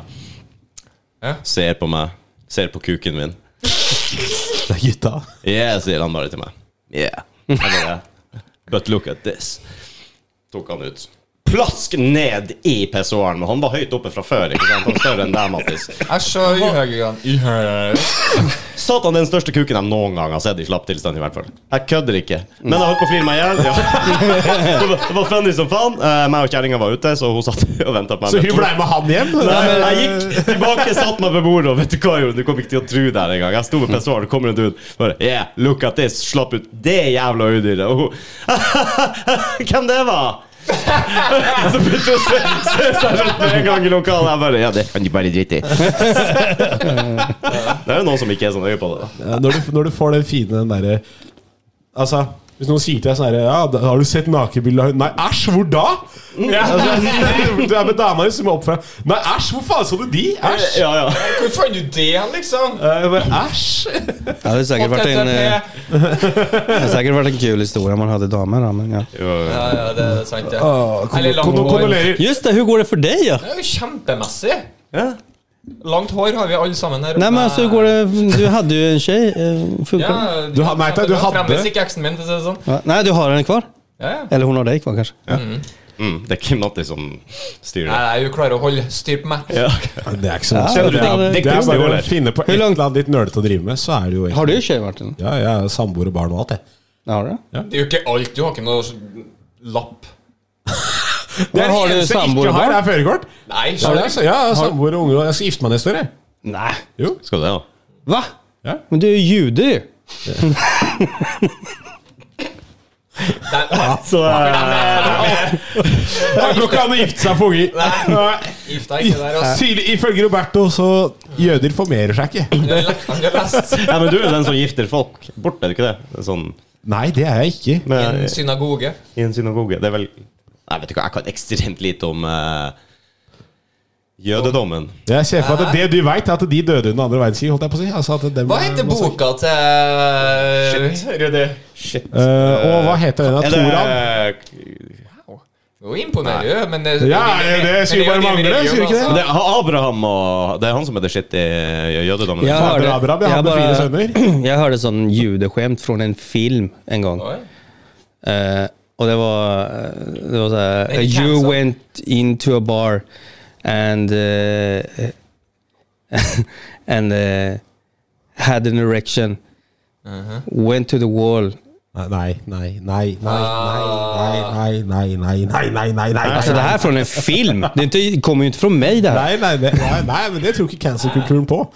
Ja. Ser på meg. Ser på kuken min. Det er gutta. Yeah, sier han bare til meg. Yeah. Jeg Bare, But look at this. Tok han ut. Plask ned i pissoaren. men Han var høyt oppe fra før. ikke sant? Han var større enn deg, Mattis. Æsj, så uhøygan. Satan, den største kuken jeg noen gang har sett i slapp tilstand, i hvert fall. Jeg kødder ikke. Men jeg holdt på å flire meg i hjel. Ja. Det var- Det var funny som faen. Eh, meg og kjerringa var ute, så hun satt og venta på meg. Så med hun to- blei med han hjem? Nei, men jeg gikk tilbake, satt meg ved bordet, og vet du hva jeg gjorde? Du kom ikke til å tro det her engang. Jeg sto med pissoaren, det kommer en dude. Bare Yeah, look at this. Slapp ut det jævla udyret. Og hun Hvem det var? Så begynte hun å se, se seg rundt med en gang i lokalet. Jeg bare Ja, det kan du bare drite i. Det er jo noen som ikke er så nøye på det. da. Ja, når, du, når du får den fine den derre Altså, hvis noen sier til deg sånn herre ja, da- 'Har du sett nakenbildet av hun?' Nei, æsj, hvor da? Altså, du er med dama di som er oppført Nei, æsj, hvor faen så du de? Æsj! Ja, ja. Hvor fant du det hen, liksom? Eh, jeg bare, Æsj! Ja, det har säkert varit en, eh, det har säkert varit en kul historia man hade damer. då, Men ja. Jo, um, jo. Ja, ja, det er sant, det. Åh, Ah, kon- Eller langt kon- hår. Kondolerer. Just det, hur går det för dig? Ja? Det er jo kjempemessig. Ja. Langt hår har vi alle sammen her. Nej, men alltså, hur går det? Du hade ju en tjej. eh, Funkar det? Ja, Du har- nei, du det var hadde- fremdeles ikke eksen min, til å si det sånn. Va? Nej, du har henne kvar? Ja, ja. Eller hon har dig kvar kanske? Mm, det er ikke Mattis som styrer Nei, det. nei, hun klarer å holde styr på meg. Ja. Det er ikke så Ja, vanskelig. Kjenner du Det er- det? Det det er kunstige bare å ordet. finne på et Hur eller langt- annet litt nølete å drive med, så er det jo Har du tjej Martin? Ja, jeg er samboer og barn og alt, jeg. Ja, har du? Det er jo ikke alt. Du har ikke noe s- lapp. Det er Men det har du eneste jeg samboer ikke og har, barn? er førerkort. Nei, Ja, skjønner du? altså, ja, samboer og unge, og jeg skal gifte meg neste år, jeg. Nej. Jo. Skal du det, da? Va? Ja. Men du är ju jude ju. Nei, nei, Så, Det går ikke an å gifte seg på unger. Nei. Gift deg ikke der, ass. Sier- Ifølge Roberto så jøder formerer seg ikke. Du har lest Nei, men du er den som gifter folk bort, er du ikke det? det? er Sånn Nei, det er jeg ikke. med, en synagoge. I en synagoge. Det er vel Jeg vet ikke, jeg kan ekstremt lite om eh, jødedommen. Jeg ser for meg at det du veit, er at de døde under andre verdenskrig. Holdt jeg på å si. Altså, at dem- Hva heter masse- boka til Rudi? Eh, og hva heter den? Er Toran? det, Jo, imponerer jo, men det, Ja, det- det skulle bare mangle, skulle ikke det er Abraham og Det er han som er det shit i eh, jødedommen. Jeg Fader hørte- Abraham, jeg jeg hadde bare- fire sønner. Jag hörde sån judeskämt från sånn en film en gång. Eh, och det var, eh, det var så här, Men det kan you så." went into a bar and eh, and eh, had an erection Went to the wall. Nei, nei, nei, nei, nei, nei, nei, nei, nei, nei, nei, nei. Alltså det här är från en film. Det är inte, kommer ju inte från mig det här. Nei, nei, det, nei, nei, men det tror ikke cancelkulturen på.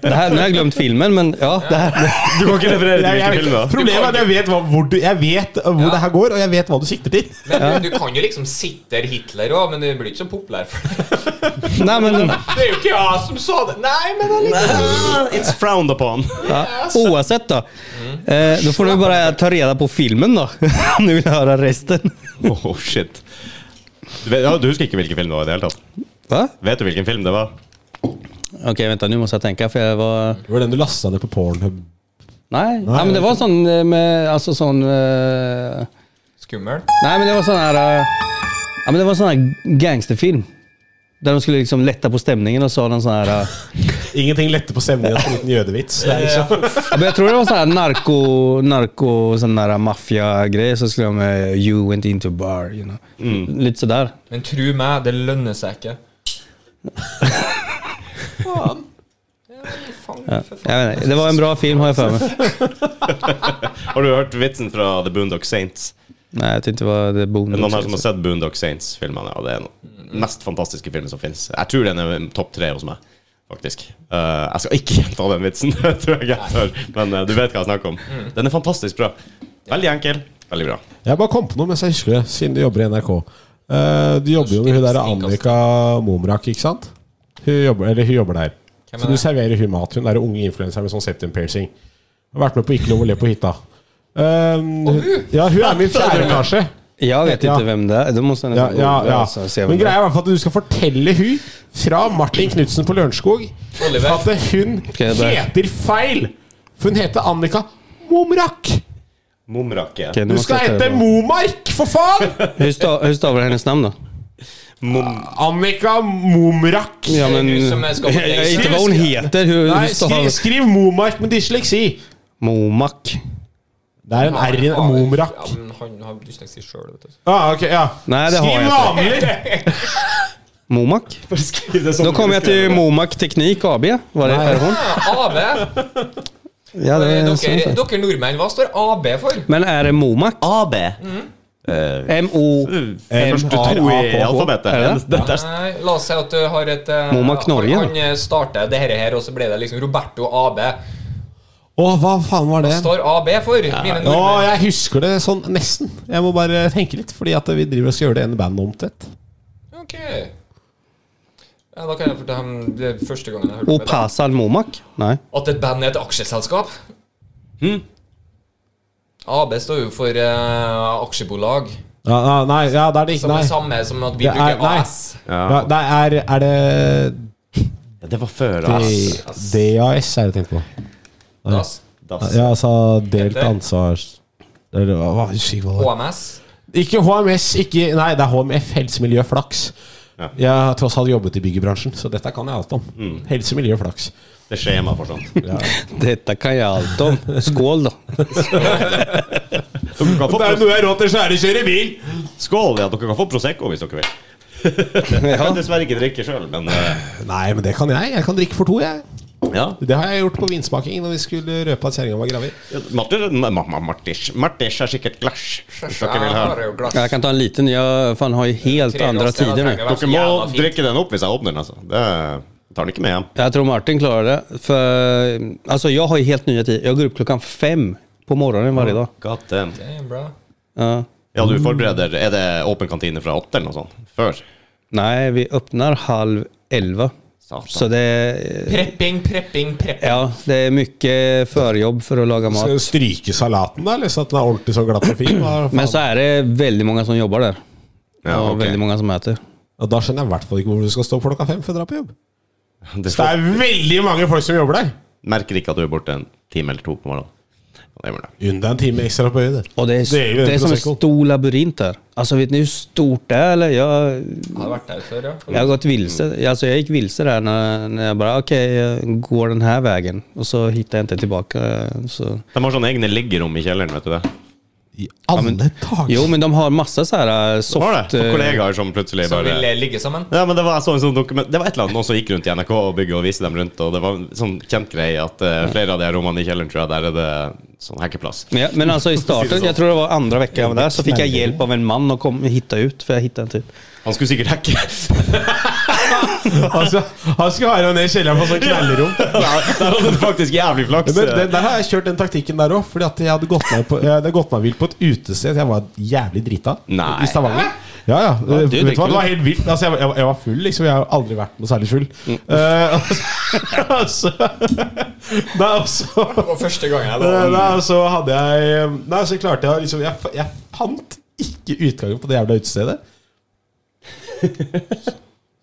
Det här. Nu har jag glömt filmen, men ja. Det här. Du kan ikke referere til Jeg, hvilken jeg, film, da. problemet er at jeg vet hva, hvor, du, jeg vet øh, hvor det her går, og jeg vet hva du sikter til. Men du, du kan jo liksom sitte Hitler òg, men du blir ikke så populær for det. Nej, men, Det er jo ikke jeg som sa det! Nei, men allikevel. It's frowned upon. ja. Oavsett då. Eh, då får du bara ta reda på filmen då. Om du vill höra resten. Oh, shit. Du, vet, ja, du husker ikke hvilken film det var i det hele tatt? Va? Vet du hvilken film det var? Okej, vänta. Nu måste jag tänka för jag var... Det var den du lasta ned på Pornhub. Nej, ja, men det var sån eh, med... Alltså sån... Eh, Skummel. Nej men det var sån här... eh, Ja men det var sån här gangsterfilm. Där de skulle liksom lätta på stämningen och sa någon sån här... eh, Ingenting lette på stemningen som en liten jødevits. Det er liksom, Ja, men jag tror det var sån här narko, narko sån där eh, maffiagrej. Så skulle de eh, You went into a bar, you know. Lite sådär. Men tru meg, det lønner seg ikke. Faen. Ja, men faen, for faen. Jag vet inte, det var en bra film har jag för mig. Har du hørt vitsen fra The Boondock Saints? Nej jag tyckte det var The Er det Boondock. noen her som har sett Boondock Saints-filmene? Ja, det er den mest fantastiske filmen som finnes Jeg tror den er topp tre hos meg, faktisk. Eh, jeg skal ikke gjenta den vitsen, det tror jeg jeg tør, men eh, du vet hva jeg snakker om. Den er fantastisk bra. Veldig enkel, veldig bra. jeg bare kom på noe mens jeg husker det, siden du jobber i NRK. Eh, du jobber jo med hun der Annika Momrak, ikke sant? Hun jobber, eller hun jobber der. Hvem er Så du det? serverer hun mat. Hun er en unge influenser med sånn septum piercing. Har vært med på Ikke lov å le på hytta. Um, ja, hun er med i fjerde etasje. Jag vet Ja. inte vem det är. Då måste jag Ja, nästan ja, googla, ja. så ser jag Men vem det greia er är. i hvert fall at du skal fortelle hun fra Martin Knutsen på Lørenskog Oliver. at hun jeg bare- heter feil! For hun heter Annika Momrak! Momrake. Okej, nu Du måste skal jag ta hete över. Momark, for faen! Hur, sta- hur stavar du hennes namn då? Mom Ah. Annika Momrak. Ja, Det men, är du som är skapad jag vet dig. inte vad hon heter. Hur, Nei, hur skriv, stavar skriv Momark med dysleksi. Momak? Det er en R i Momrak. Ja, men han har dysleksi sjøl, vet du. Ah, ok, ja. Nej, det har Skriv jag inte. vanlig! Momak? Skriv det som Då kommer jag till Momak Teknik AB. Var det, är det hon? Ja, AB. Ja, det är sånn en sån Dere, där. dere nordmenn, hva står AB for? Men är det Momak? AB. Eh, M-O... Første to i alfabetet. Er det? Den- den- der- Nei, la oss si at du har et eh, Momak Norge, Han, han eh, starter det her, her, og så ble det liksom Roberto AB. Å, hva faen var det? Står AB for? Mine Å, nordmenn. jeg husker det sånn nesten. Jeg må bare tenke litt, fordi at vi driver og skal gjøre det ene bandet om til et. Ok. Ja, da kan jeg fortelle ham det er første gangen jeg hørte om det. Opasan Momak? Nej. At et band er et aksjeselskap. Hm? AB står jo for eh, aksjebolag, Ja, ja, nei, ja, det er det ikke. som Nei. er samme som at vi Det er- bruker nei. AS. Ja, det er, er det Ja, Det var før, ass. D- DAS er det jeg tenkte på. DAS. Das. Ja, altså delt Dette. ansvars... Eller hva- hva husker jeg hva det var. HMS. Ikke HMS, ikke Nei, det er HMF, helse, miljø, flaks. Ja. Jeg har tross alt jobbet i byggebransjen, så dette kan jeg alt om. Helse, miljø, flaks. Det er skjema for sånn. sånt. Detta kan jag allt om. Skål då. Dere kan få, noe jeg råd til, så er det å kjøre bil! skål, ja. Dere kan få Prosecco hvis dere vil. Jeg kan dessverre ikke drikke sjøl, men eh, Nei, men det kan jeg. Jeg kan drikke for to, jeg. ja. Det har jeg gjort på vinsmaking når vi skulle røpe at kjerringa var gravid. Martin, ma, ma, Martis. Martis er sikkert glass. Hvis Dere, vil ha. jo glass. Jag kan ta en liten. Jag fan, har ju helt andra tider nu. dere må drikke den opp hvis jeg åpner den. Altså. Det tar den ikke med hjem. Jag tror Martin klarar det. För, alltså, jag har ju helt nya tider. Jag går upp klockan fem på morgonen varje dag. God damn. Bra. Ja. Ja, du forbereder Er det åpen kantine fra åtte eller noe sånt? Før? Nej, vi öppnar halv elva. Så Satan. det är, Prepping, prepping, prepping. ja, det är mycket förjobb för att laga mat. Skal du stryke salaten, da? Eller så at den er ordentlig så glatt og fin? Hva faen? Men så är det väldigt många som jobbar där. Ja, Och ok. väldigt många som äter. Og da skjønner jeg i hvert fall ikke hvor du skal stå klokka fem for å dra på jobb. Det Så det står, er veldig mange folk som jobber der. merker ikke at du er borte en time eller to på morgenen. Ja, Det gjør det. Unn deg en time ekstra på høyde. Och det är, Det är ju det är en som en prosecco. stor labyrint där. Alltså vet ni hur stort det är eller? Jag, Jeg har vært der før, ja. jag har gått vilse. Alltså jag gick vilse där när, när jag bara okej, jag går den här vägen. Och så hittar jag inte tillbaka. Så. De har sånne egne liggerom i kjelleren, vet du det? I alle dager! Jo, men de har masse så här eh, soft... Var det? For eh, kollegaer som plutselig Som bare vil ligge sammen. Ja, men det var, sånn, sånn dokument, det var et eller annet noen som gikk rundt i NRK-bygget og viste dem rundt, og det var en sånn kjent greie at eh, flere av de her rommene i kjelleren, tror jeg, der er det sånn hackeplass. Men, jag, men alltså i starten, jag tror det var andra veckan där, så fick jag hjälp av en man att kom, hitta ut, för jag hittade inte ut. Han skulle sikkert hacke. Han skal, Altså, han skal være ned i kjelleren på sånn knellerom. der der hadde du faktisk jævlig flaks. Men den, der har jeg kjørt den taktikken der òg. Fordi at jeg hadde gått meg, på, jeg hadde gått meg vilt på et utested. Jeg var jævlig drita Nei. i Stavanger. Ja, ja. Vet du drikker hva, det du. var helt vilt. Altså, jeg, var- jeg, var- jeg var full, liksom. Jeg har aldri vært noe særlig full. Eh, altså, Nei, altså Det var første gangen jeg Eh, var Nei, og så hadde jeg eh, Nei, så klarte jeg liksom Jeg, fa- jeg fant ikke utgangen på det jævla utestedet.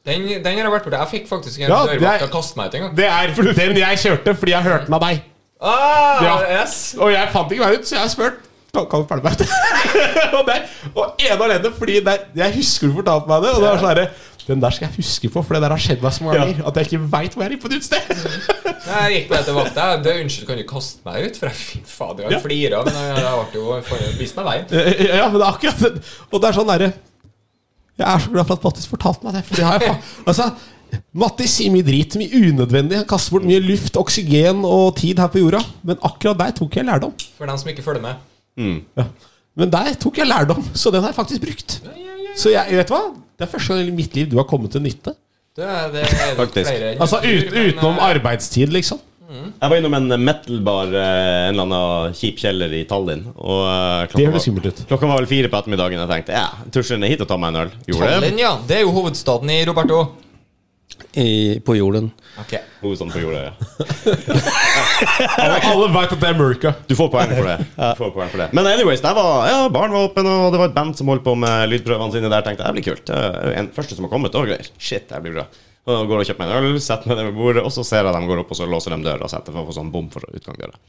Den, den har jeg vært borti. Jeg fikk faktisk en Ja, det er- dørvakt til å kaste meg ut en gang. Det er den jeg kjørte fordi jeg hørte den av deg. Ah, Ja. yes. Og jeg fant ikke veien ut, så jeg har spurt. Kan kan du følge meg ut? og, der, og ene og alene fordi der, jeg husker du fortalte meg det. Og det var sånn herre, Den der skal jeg huske på, for det der har skjedd meg så mange ganger. At jeg ikke veit hvor jeg er på et utested. Nei, Jeg gikk bare til vakta. Jeg- det, Unnskyld, kan du kaste meg ut? For jeg fy fader, jeg Ja. flira. Men jeg, jeg ble jo for- Vis meg veien. Eh, ja, men det er akkurat det. Og det er sånn derre Jeg er så glad for at Mattis fortalte meg det. For det har jeg fa altså, Mattis sier mye drit, mye unødvendig. Han kaster bort mye luft, oksygen og tid her på jorda. Men akkurat der tok jeg lærdom. For dem som ikke følger med. Ja. Men der tok jeg lærdom, så den har jeg faktisk brukt. Så jeg, vet du hva? Det er første gang i mitt liv du har kommet til nytte. Det, det er nok Faktisk. flere enn Altså du tror, ut, men, utenom eh, arbeidstid, liksom. Jeg var innom en metal-bar, eh, en eller annen kjip kjeller i Tallinn. Og eh, klokka, Det høres var, skummelt ut. klokka var vel fire på ettermiddagen. Jeg tenkte ja, tusjer ned hit og tar meg en øl. Gjorde Tallinn, det. ja. Det er jo hovedstaden i Roberto. I, på jorden. Ok Hun sånn på jorda, ja. Alle, alle veit at det er America. Du får poeng for det. Du får poeng for det. Men anyways, der var, ja, baren var åpen, og det var et band som holdt på med lydprøvene sine der. Tenkte jeg, det blir kult. Det er en første som har kommet og greier. Shit, det her blir bra. Og går og kjøper meg en øl, setter meg ned ved bordet, og så ser jeg dem går opp, og så låser de døra og setter for å få sånn bom for utgangsdøra.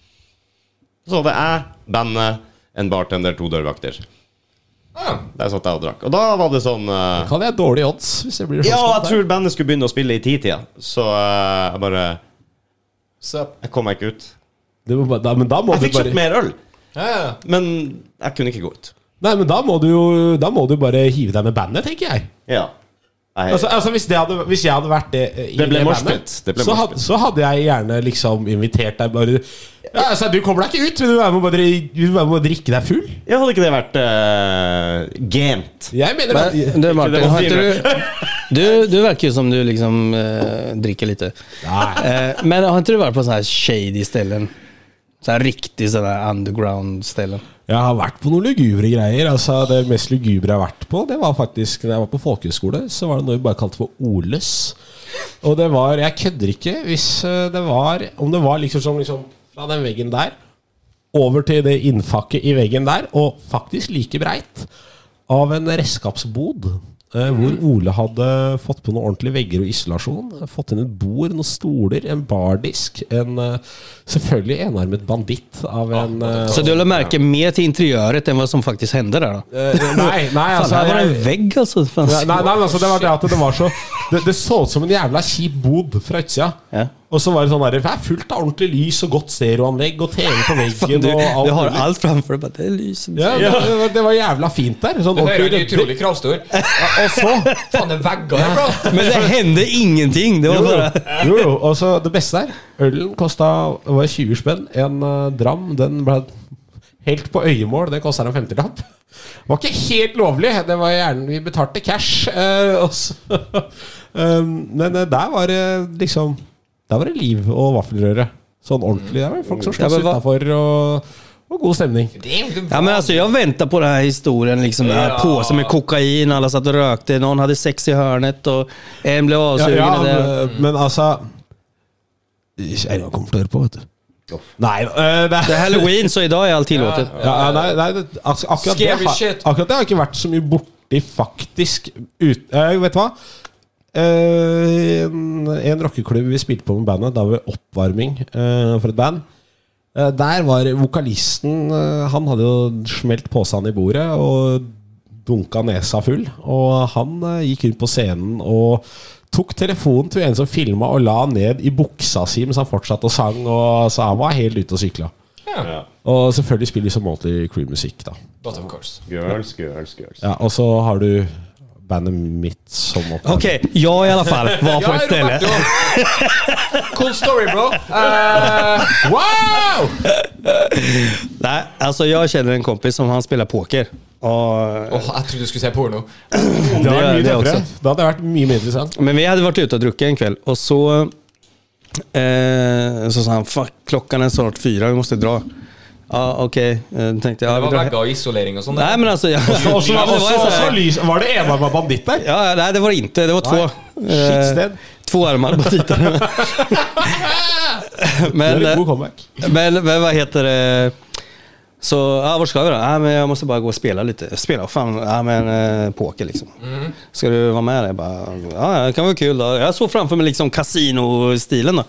Så det er bandet, en bartender, to dørvakter. ah, Der satt jeg og drakk. Og da var det sånn eh, Kan jeg dårlige odds hvis jeg blir sånn Ja, jeg skadet? tror bandet skulle begynne å spille i titida, så eh, jeg bare Sup. Jeg kom meg ikke ut. Det må bare- da- Men da må Jeg du fikk kjøpt bare mer øl, Ja, ja. men jeg kunne ikke gå ut. Nei, men da må du jo Da må du bare hive deg med bandet, tenker jeg. Ja. Jeg, Altså, altså hvis, det hadde, hvis jeg hadde vært det eh, i Det ble bandet, moshpit. Det ble så, had, moshpit. så hadde jeg gjerne liksom invitert deg bare ja, altså, Du kommer deg ikke ut, men du er med å bare, du er med å drikke deg full. Ja, hadde ikke det vært uh, gamet? Jeg mener at- Men, du Martin, det man har sier, inte du, du, du verkar ju som du liksom eh, dricker lite. Nei. Eh, men har inte du varit på sådana här shady ställen? Så här riktigt sådana här underground ställen? Jeg har vært på noen lugubre greier. Altså, det mest lugubre jeg har vært på, det var faktisk da jeg var på folkehøyskole. Så var det noe vi bare kalte for Oles. Og det var Jeg kødder ikke hvis eh, det var Om det var liksom som liksom fra den veggen der over til det innfakket i veggen der, og faktisk like breit, av en redskapsbod. eh, Hvor Ole hadde fått på noen ordentlige vegger og isolasjon. Fått inn et bord, noen stoler, en bardisk. En, eh, selvfølgelig enarmet banditt av en eh, Så du lade märke mer till interiöret än vad som faktiskt hände där då? Eh, nei, nei, Fan, altså här var det jeg, en vägg alltså. Fan. nei, nei, men altså, det var det at det var så Det, det så ut som en jævla kjip bod fra utsida. Ja. Og så var det sånn der, det er fullt av ordentlig lys og godt stereoanlegg og TV på Fan, veggen du, og alt du har mulig. allt framför dig. bara, Det lyser. Ja, det, det var- det var jævla fint der. Sånn Du hører jo ordentlig ryddig. utrolig kravstor. Ja, og så Faen, det er vegger her, bro! Men det hände ingenting. Det var jo, bara... jo, jo, og så det beste der. Ølen kosta det var 20 spenn. En eh, dram. Den ble helt på øyemål. Det kosta en 50-lapp. Det var ikke helt lovlig. Det var gjerne Vi betalte cash. eh, og så, um, men eh, der var det liksom Der var det liv og vaffelrøre. Sånn ordentlig. Der var det folk som Ja, sloss men hva- utafor, og, og god stemning. Det er jo Ja, men alltså, jag väntar på den här historien. Liksom, den här Ja. påsen med kokain, alla satt och rökte, någon hade sex i hörnet och en blev Ja, avsugen. ja, och det- men, men altså Ikke engang kommer til å høre på, vet du. Nei, eh, Det er halloween, så i dag er alt tillåtet. Ja, ja, nei, nei det, altså, akkurat, det, Scary har- shit. akkurat det har ikke vært så mye borti, faktisk. Ut, eh, vet du hva? Eh, en, en rockeklubb vi spilte på med bandet, da var vi oppvarming eh, for et band. Eh, der var vokalisten eh, Han hadde jo smelt posen i bordet og dunka nesa full. Og han eh, gikk rundt på scenen og tok telefonen til en som filma, og la han ned i buksa si mens han fortsatte å sang. Og, så han var helt ute og sykla. Ja. Og selvfølgelig spiller de som Motley Crew-musikk, da. But of course. Girls, girls, girls. Ja, og så har du bandet mitt som Motley Okej, jag i alla fall var på ett ställe. Cool story, bro. Eh, wow! Nej, alltså jag känner en kompis som han spelar poker. Och, Åh, jeg trodde du skulle si porno. Det hadde vært Det- mye det tøffere. også. Det hadde vært mye mer interessant. Men vi hade varit ute och druckit en kväll och så, eh, så sa han Fuck, klockan är snart fyra, vi måste dra. Ja, okej. Eh, tänkte jag. Det Ja, vi var drar hem. vegger og isolering og sånn. Nej, men alltså. Jag, Og så Ja, men det var ju så här- var det enarma banditt der? Ja, nej, det var det inte. Det var Eh, två. Nej. Shit, Sten. två armar på titeln. men, Det er eh, en god comeback. men, men vad heter det? Så, ja, var ska vi då? Ja, men jag måste bara gå och spela lite. Spela, vad fan, ja, men eh, poker liksom. Mhm. Ska du vara med? Jag bara, ja, det kan vara kul. Då. Jag såg framför mig liksom kasinostilen då.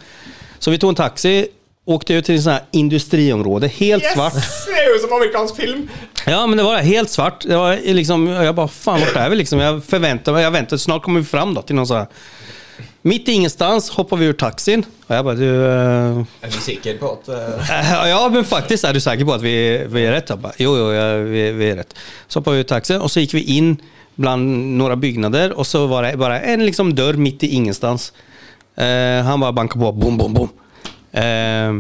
Så vi tog en taxi, åkte ut till en sån här industriområde, helt svart. Det er jo som amerikansk film. Ja, men det var helt svart. Det var liksom, jag bara, fan vart är vi liksom? Jag förväntade mig, jag väntade, snart kommer vi fram då till någon så här. Mitt i ingenstans hoppar vi ur taxin och jag bara, du... eh, Er du sikker på at eh, Eh, Ja, men faktiskt är du säker på att vi, vi är rätt? Jag bara, jo, jo, ja, vi, vi är rätt. Så hoppade vi ur taxin och så gick vi in bland några byggnader och så var det bara en liksom dörr mitt i ingenstans. Eh, han bara bankade på, bom, bom, bom. Eh,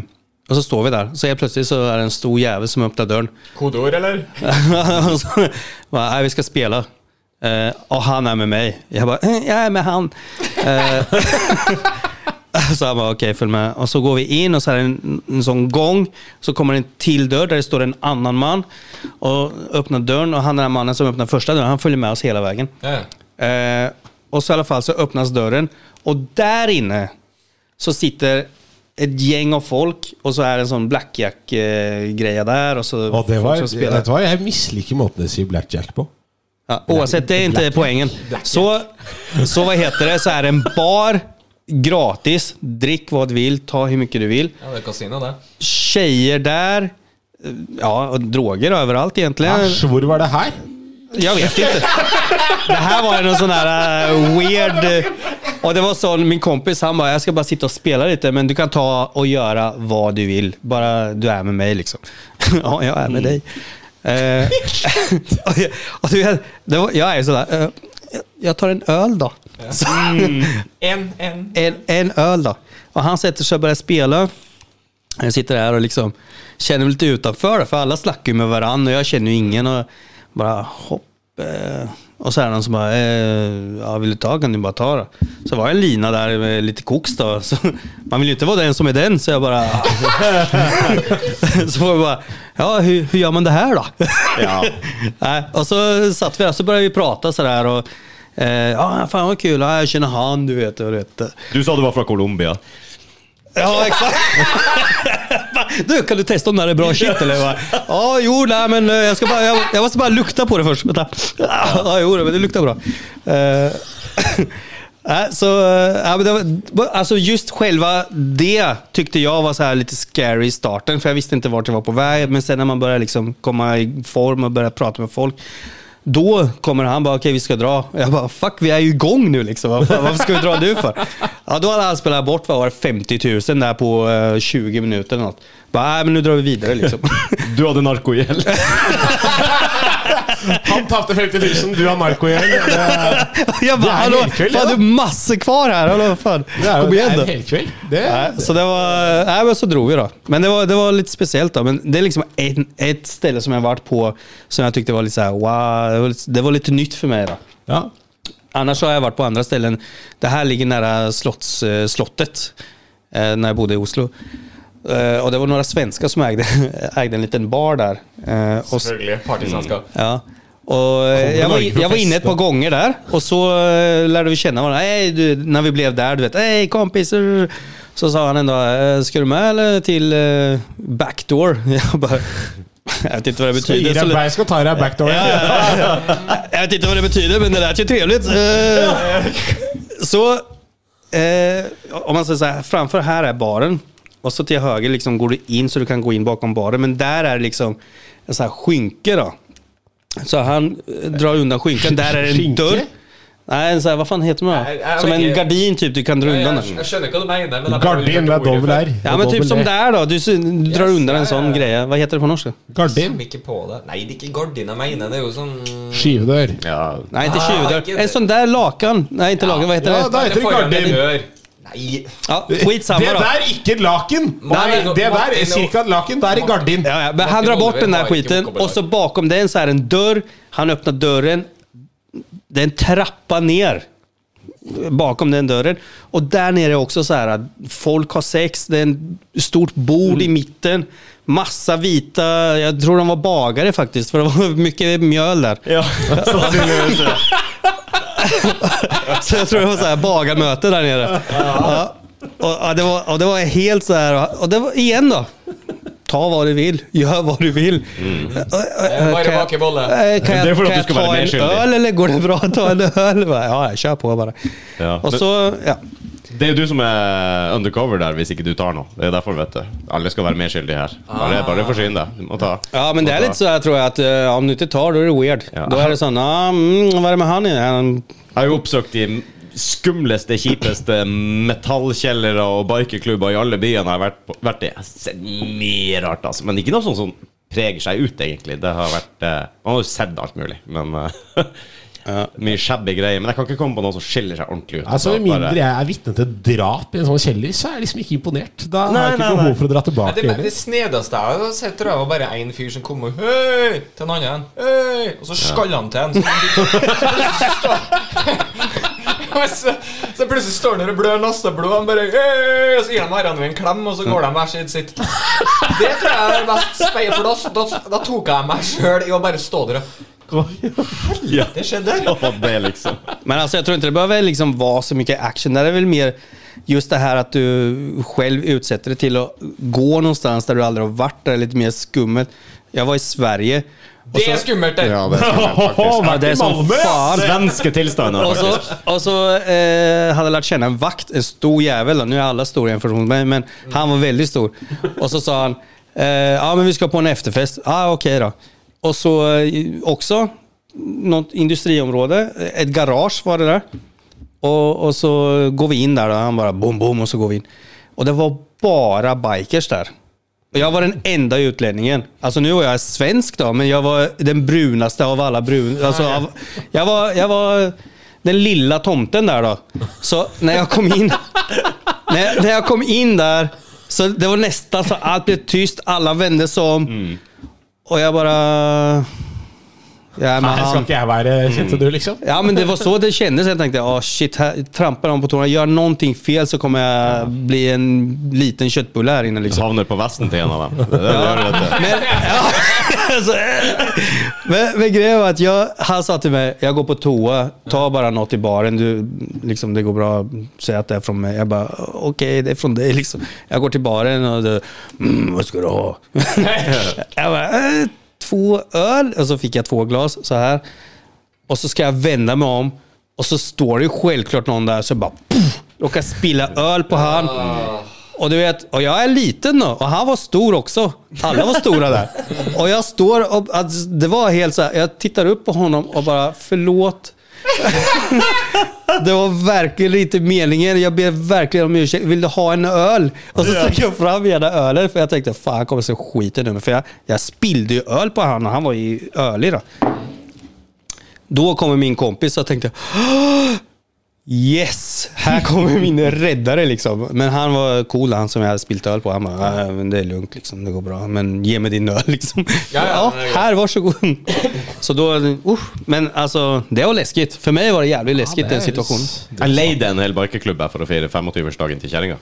och så står vi där. Så helt plötsligt så är det en stor jävel som öppnar dörren. Kodeord, eller? Och så bara, nej, vi ska spela. Eh, och han är med mig. Jag bara, eh, jag är med han. Eh, så han bara, okej, följ med. Och så går vi in och så är det en, en sån gång. Så kommer en till dörr där det står en annan man. Och öppnar dörren och han den här mannen som öppnar första dörren, han följer med oss hela vägen. Ja. Eh, och så i alla fall så öppnas dörren och där inne så sitter ett gäng av folk och så är det en sån blackjack-greja där och så Og det var, folk som spelar. vet du hva, jeg misliker måten de sier blackjack på. Ja, oavsett, det är inte poängen. Så, så vad heter det, så är det en bar, gratis, drick vad du vill, ta hur mycket du vill. ja, det er kasino, det. Tjejer där, ja, och droger överallt egentligen. Æsj, hvor var det her? Jag vet inte. Det här var ju någon sån här eh, weird... eh, Och det var sån, min kompis han bara, jag ska bara sitta och spela lite, men du kan ta och göra vad du vill. Bara du är med mig liksom. Ja, jag är med dig. Eh, och jag, och du, vet, det var, jag är ju sådär, eh, jag- jag tar en öl då. Så, En, en. en, en öl då. Och han sätter sig och börjar spela. Jag sitter här och liksom känner mig lite utanför för alla slackar ju med varandra och jag känner ju ingen och bara hopp. eh. Och så är det någon som bara, eh, ja, vill du ta kan du bara ta då. Så var det en lina där med lite koks då. Så, man vill ju inte vara den som är den så jag bara... så var jag bara, ja hur, hur gör man det här då? Ja. Nej, och så satt vi där så började vi prata sådär och eh, ja fan vad kul, ja, jag känner han du vet. Och, du vet. Du sa du var fra Colombia. Ja, exakt. du, kan du testa om det här är bra shit eller? vad? Ja, jo, nej, men eh, jag, ska bara, jag, jag måste bara lukta på det först. Vänta. Ja, jo, men det luktar bra. Eh, nej, så, eh, ja, men det var, alltså just själva det tyckte jag var så här lite scary i starten, för jag visste inte vart jag var på väg. Men sen när man börjar liksom komma i form och börja prata med folk, då kommer han bara, okej vi ska dra. Jag bara, fuck vi är ju igång nu liksom. Vad fan, Varför ska vi dra nu för? Ja, då hade han spelat bort, vad var det, 50 000 där på eh, 20 minuter eller något. Bara, nej men nu drar vi vidare liksom. Du hadde narkohjelp. Han tapte 50 000, du har narko igjen. Jag bara, Det är hallå, helkväll, fan ja." du har massor kvar här. Hallå, fan. Kom igen då. helkveld. Det Nej, Så det var, nej, men så drog vi då. Men det var, det var lite speciellt då. Men det är liksom en, ett ställe som jag varit på som jag tyckte var lite så här, wow, det var lite, det var lite nytt för mig då. ja. Annars har jag varit på andra ställen. Det här ligger nära slotts, eh, slottet eh, när jag bodde i Oslo. Eh, Och det var några svenskar som ägde, ägde en liten bar där. Eh, Och, s- Selvfølgelig. Partysvenskap. ja. Och eh, jag, var, jag var inne ett par gånger där och så eh, lärde vi känna varandra. Hey, du, när vi blev där, du vet, hej kompis. eh." Så sa han en dag, "Eh, ska du med eller till eh, backdoor? Jag bara, jag vet inte vad det betyder. Så- Jeg skal ta deg backdoor. Ja, ja, ja. Jag vet inte vad det betyder, men det lät ju trevligt. Eh, Så, eh, om man säger så här, framför här är baren. Och så till höger liksom går du in så du kan gå in bakom baren. Men där är liksom en sån här skynke då. Så han eh, drar undan skynken. Där är en Skynke? dörr. Nej, en sån här, vad fan heter man? Nej, jag som vet en inte. gardin typ, du kan dra Jeg, undan jeg, den. jeg skjønner hva du mener. Men jeg bare Gardin, har det hørt er ordet dobbel før. R. Ja men typ som där då, du, sy- du drar Yes, undan ja, en sån ja, ja. grej. Vad heter det på norska? Gardin. Kom ikke på det. Nei, det er ikke gardin jeg mener. Det er jo sånn Skivedør. Ja, Nej inte Ah, tjuvdörr. inte- En sån där lakan. Nej inte lakan, vad heter Ja, det? da heter det gardin. Nei Ja, skitsamma Det då. der er ikke laken! Nei, Martin og- det der Martin er og- cirka et laken. Det er i gardin. Ja, ja, men han Martin drar bort Oliver den där har inte skiten vocabulär. och så bakom den så är det en dörr. Han öppnar dörren. Det är en trappa ner bakom den dörren. Och där nere är också så här att folk har sex. Det är ett stort bord i mitten. Massa vita, jag tror de var bagare faktiskt för det var mycket mjöl där. ja sannsynligvis. ja. Så jag tror det var så här bagarmöte där nere. Ja. Och, ja, det var, och det var helt så här, och det var igen då. Ta vad du vill, gör vad du vill. Eh, eh, eh, Bara kan jag- baka bollar. eh, Kan Det är jag, för kan att du jag ska vara ta mer en skyldig. öl eller går det bra att ta en öl? Bara, Ja, jag kör på bara. Ja. Och så, ja. Det er jo du som er undercover der hvis ikke du tar noe. Det er derfor, vet du. Alle skal være medskyldige her. Bare, bare forsyn deg. Du må ta. Ja men det är lite så här tror jag att eh, om du inte tar då är det weird. Ja. Då är det sån, ah, mm, vad är det med han? igen? Han Jeg har jo oppsøkt de skumleste, kjipeste metallkjellere og bikerklubber i alle byene jeg har vært, på, vært i. Jeg har sett mye rart, altså. Men ikke noe sånt som preger seg ut, egentlig. Det har vært eh, Man har jo sett alt mulig, men eh, Mye shabby greier. Men jeg kan ikke komme på noe som skiller seg ordentlig ut. Altså, Så Med mindre bare- jeg er vitne til drap i en sånn kjeller, så er jeg liksom ikke imponert. Da har Nei, jeg ikke nei, nei. behov for å dra Ja, tilbake. Det, heller. det snedeste jeg har sett, tror jeg var bare én fyr som kom og Hei! til en annen. Hei! Og så skalla han til en. Så, han så, så, så plutselig står han der og blør nasseblod. Han bare Hei! Og så gir han hverandre en klem, og så går de hver sitt sitt. Det tror jeg er det mest speil, for da, da, da tok jeg meg sjøl i å bare stå der og Ja, Det skjedde. det var det, liksom. Men alltså jag tror inte det behöver liksom vara så mycket action. Det är väl mer just det här att du själv utsätter dig till att gå någonstans där du aldrig har varit. Det är lite mer skummelt. Jeg var i Sverige. och Det så- er skummelt, det. det Ja, det är som fan. Svenske tilstander, Och så, faktisk. och så Altså, eh, hade jag lärt känna en vakt, en stor jävel. då. Nu är alla stora jämfört med mig, men han var väldigt stor. Och så sa han, eh, ja men vi ska på en efterfest. Ja ah, okej då. Och så eh, också, något industriområde, eh, ett garage var det där. Och, och så går vi in där då. Han bara bom, bom och så går vi in. Och det var bara bikers där. Och jag var den enda utlänningen. Alltså nu var jag svensk då, men jag var den brunaste av alla brun... Alltså av, jag, var, jag var den lilla tomten där då. Så när jag kom in... När jag, när jag kom in där, så det var nästan så allt blev tyst, alla vände sig om. Och jag bara... Jag är med Her han. skal ikke jeg være, kjente du, liksom. Ja men det var så det kändes. Jag tänkte, ah shit, här trampar de på tårna. Gör någonting fel så kommer jag bli en liten köttbulle här inne liksom. Så havner du på vesten til en av dem. Det er det du gjør, vet du. Men, ja, alltså, eh, men, men grejen var att jag, han sa till mig, jag går på toa, ta bara något i baren, du, liksom, det går bra, säg att det är från mig. Jag bara, okej det är från dig liksom. Jag går till baren och du, mm, vad ska du ha? jag bara, eh, två öl, och så fick jag två glas så här. Och så ska jag vända mig om och så står det ju självklart någon där så bara pff, råkar spilla öl på han. Och du vet, och jag är liten då och han var stor också. Alla var stora där. Och jag står och, alltså, det var helt så här, jag tittar upp på honom och bara förlåt. Det var verkligen inte meningen. Jag ber verkligen om ursäkt. Vill du ha en öl? Och så sträcker jag fram ena ölen för jag tänkte fan han kommer se skiten ur mig. För jag, jag spillde ju öl på honom och han var ju ölig då. Då kommer min kompis och tänkte "Åh, Yes! Här kommer min räddare liksom. Men han var cool, han som jag hade spilt öl på. Han bara, "Äh, men det är lugnt liksom, det går bra. Men ge mig din öl liksom. Ja, ja, ja, det är här, varsågod. Så då, usch. Men alltså, det var läskigt. För mig var det jävligt läskigt den situationen. Jeg leide en hel bikerklubb her for å feire 25-årsdagen til kjerringa.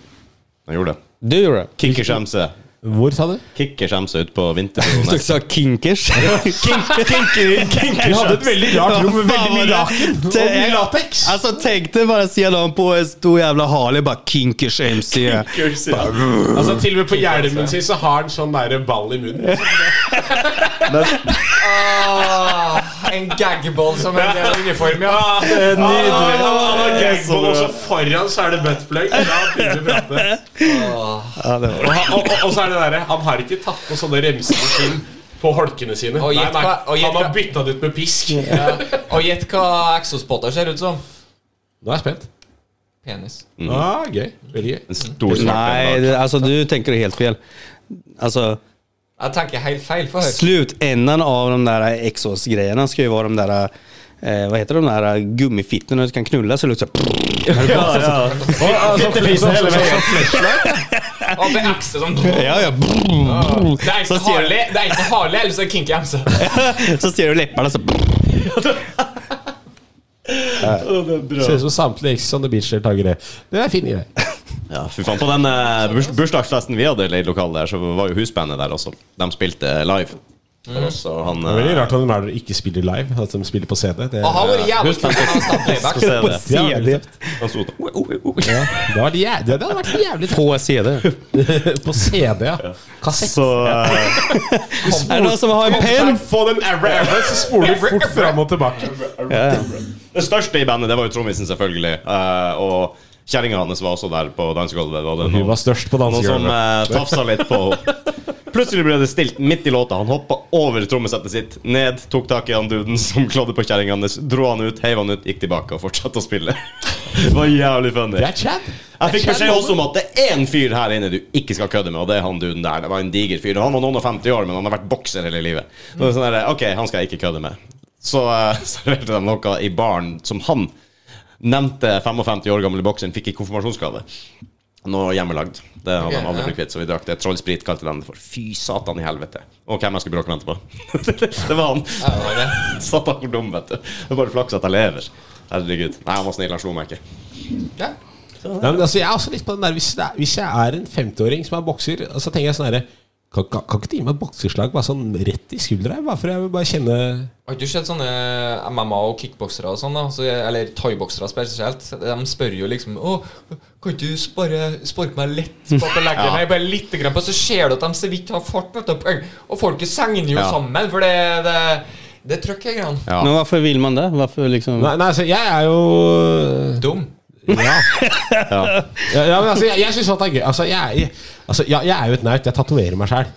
Jeg gjorde det. Du gjorde det? Kikkerskjemse. Hvor, sa du? Kikkerskjemse ut på Du vinterbroen. sa kinkers. Vi hadde et veldig rart rom med veldig mye Ja, laken og Det- Altså, mye lateks. Alltså tänk dig bara se dem på en stor jävla Harley bara kinkers MC. Altså, til og med på hjelmen sin så har han sånn der ball i munnen. Ah, en gagball som en del av uniform, ja. Og så foran så er det buttplug. Da begynner vi å prate. Ja, det var Og, han- og, og, og så er det derre Han har ikke tatt på sånne remser på skinn. på holkene sine. Og nei, gjett nei, hva- og gjett han har hva- bytta det ut med pisk. Og gjett hva exospotter ser ut som. Nå er jeg spent. Penis. Ah, gøy. Veldig gøy. En stor svart Nej, en bak. det, alltså altså, du tänker helt fel. Alltså, Jeg tenker helt feil. for høyt. slutändan av de där Exos-grejerna ska ju vara de där, eh, vad heter de där gummifittorna du kan knulla så det luktar... Ja, ja. Fittefisen hele veien. Og det ekser som Ja, ja. Det er Så ikke ser, Harley, det er ikke Harley eller så er det Kinky MC. du- så ser du läpparna så... Ser ut som samtlige Ex on the Beach-deltakere. Den er fin. Greier. Ja, fy faen. På den eh, burs bursdagsfesten vi hadde i lokalet der, så var jo husbandet der også. De spilte live. For oss, og han Det er veldig eh, rart at Marder ikke spiller live. At de spiller på CD. Det, Og han var jævlig kul. Husbandet når han sa skal playback. se det. Ja, det- Han sto sånn, «Oi, oi, oi». Ja, det, var jæ det hadde vært jævlig På CD. på CD, ja. Kassett. Så eh, Är det någon som har en penn? Få den erre, erre, så spoler du fort fram og tilbake. Det største i bandet, det var jo trommisen, selvfølgelig. Eh, og kjerringa hans var også der på dansegulvet. Det var det Hun noen- var størst på noen som dansegulvet. eh, tafsa litt på Plutselig ble det stilt midt i låta. Han hoppa over trommesettet sitt, ned, tok tak i han duden som klådde på kjerringa hans, dro han ut, heiv han ut, gikk tilbake og fortsatte å spille. Det var jævlig funny. Det er Chad. Jeg fikk beskjed også om at det er én fyr her inne du ikke skal kødde med, og det er han duden der. Det var en diger fyr. Han var noen og 50 år, men han har vært bokser hele livet. Så det er sånn der, ok, han skal jeg ikke kødde med. Så eh, serverte de noe i baren som han nevnte 55 år gamle bokseren fikk i konfirmasjonsgave. Noe hjemmelagd. Det hadde Ok, han aldri ja. blitt kvitt, så vi drakk det. Trollsprit kalte de det for. Fy satan i helvete. Og hvem jeg skulle bråke med etterpå. det var han. Ja, det var det. Satan hvor dum, vet du. Det er bare flaks at jeg lever. Herregud. Nei, han var snill, han slo meg ikke. Ja. Nei, men altså, jeg er også litt på den der Hvis, det er, hvis jeg er en 50-åring som er bokser, så tenker jeg sånn herre kan, kan, kan ikke de gi meg et bokseslag bare sånn rett i skuldra? Bare for jeg vil bare kjenne Har ikke du sett sånne MMA- og kickboksere og sånn, da? Så, eller thaiboksere spesielt. De spør jo liksom Å, kan ikke du bare sparke meg litt på at jeg legger meg bare litt grann på? Så ser du at de så vidt har fart, vet du. Pang! Og folket segner jo Ja. sammen, for det, det, det trøkk er grann. Ja. Men varför vill man det? Varför liksom... Nei, nei altså, jeg er jo Dum. Ja. ja. ja men altså, jeg, jeg syns at det er gøy. Altså, jeg, jeg, altså, jeg, jeg er jo et naut. Jeg tatoverer meg sjæl.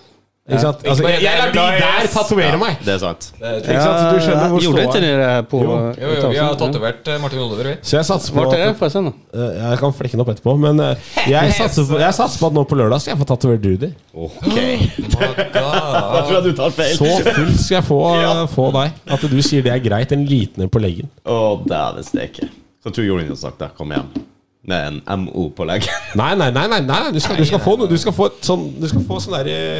Ikke sant? Altså, jeg, jeg lar de der tatovere meg. Det er sant. Ikke sant? Så Du skjønner hvor Gjorde ståa inte er. ni det här på... Jo, jo, vi har tatovert eh, Martin Oliver, vi. Så jeg satser på Vart är det at, förresten då? Eh, Jeg kan flekke den opp etterpå, men eh, jeg satser på, jeg satser på at nå på lørdag skal jeg få tatovert Rudy. Ok. My God. Jeg tror at du tar feil. Så full skal jeg få, eh, få deg. At du sier det er greit. En liten en på leggen. Å, dæven steike. Så tror Jorunn hadde sagt det. Kom hjem. Med en MO på leggen. Nei, nei, nei. nei, nei. Du, skal, du, skal få, noe- du skal få et sånn Du skal få sånn derre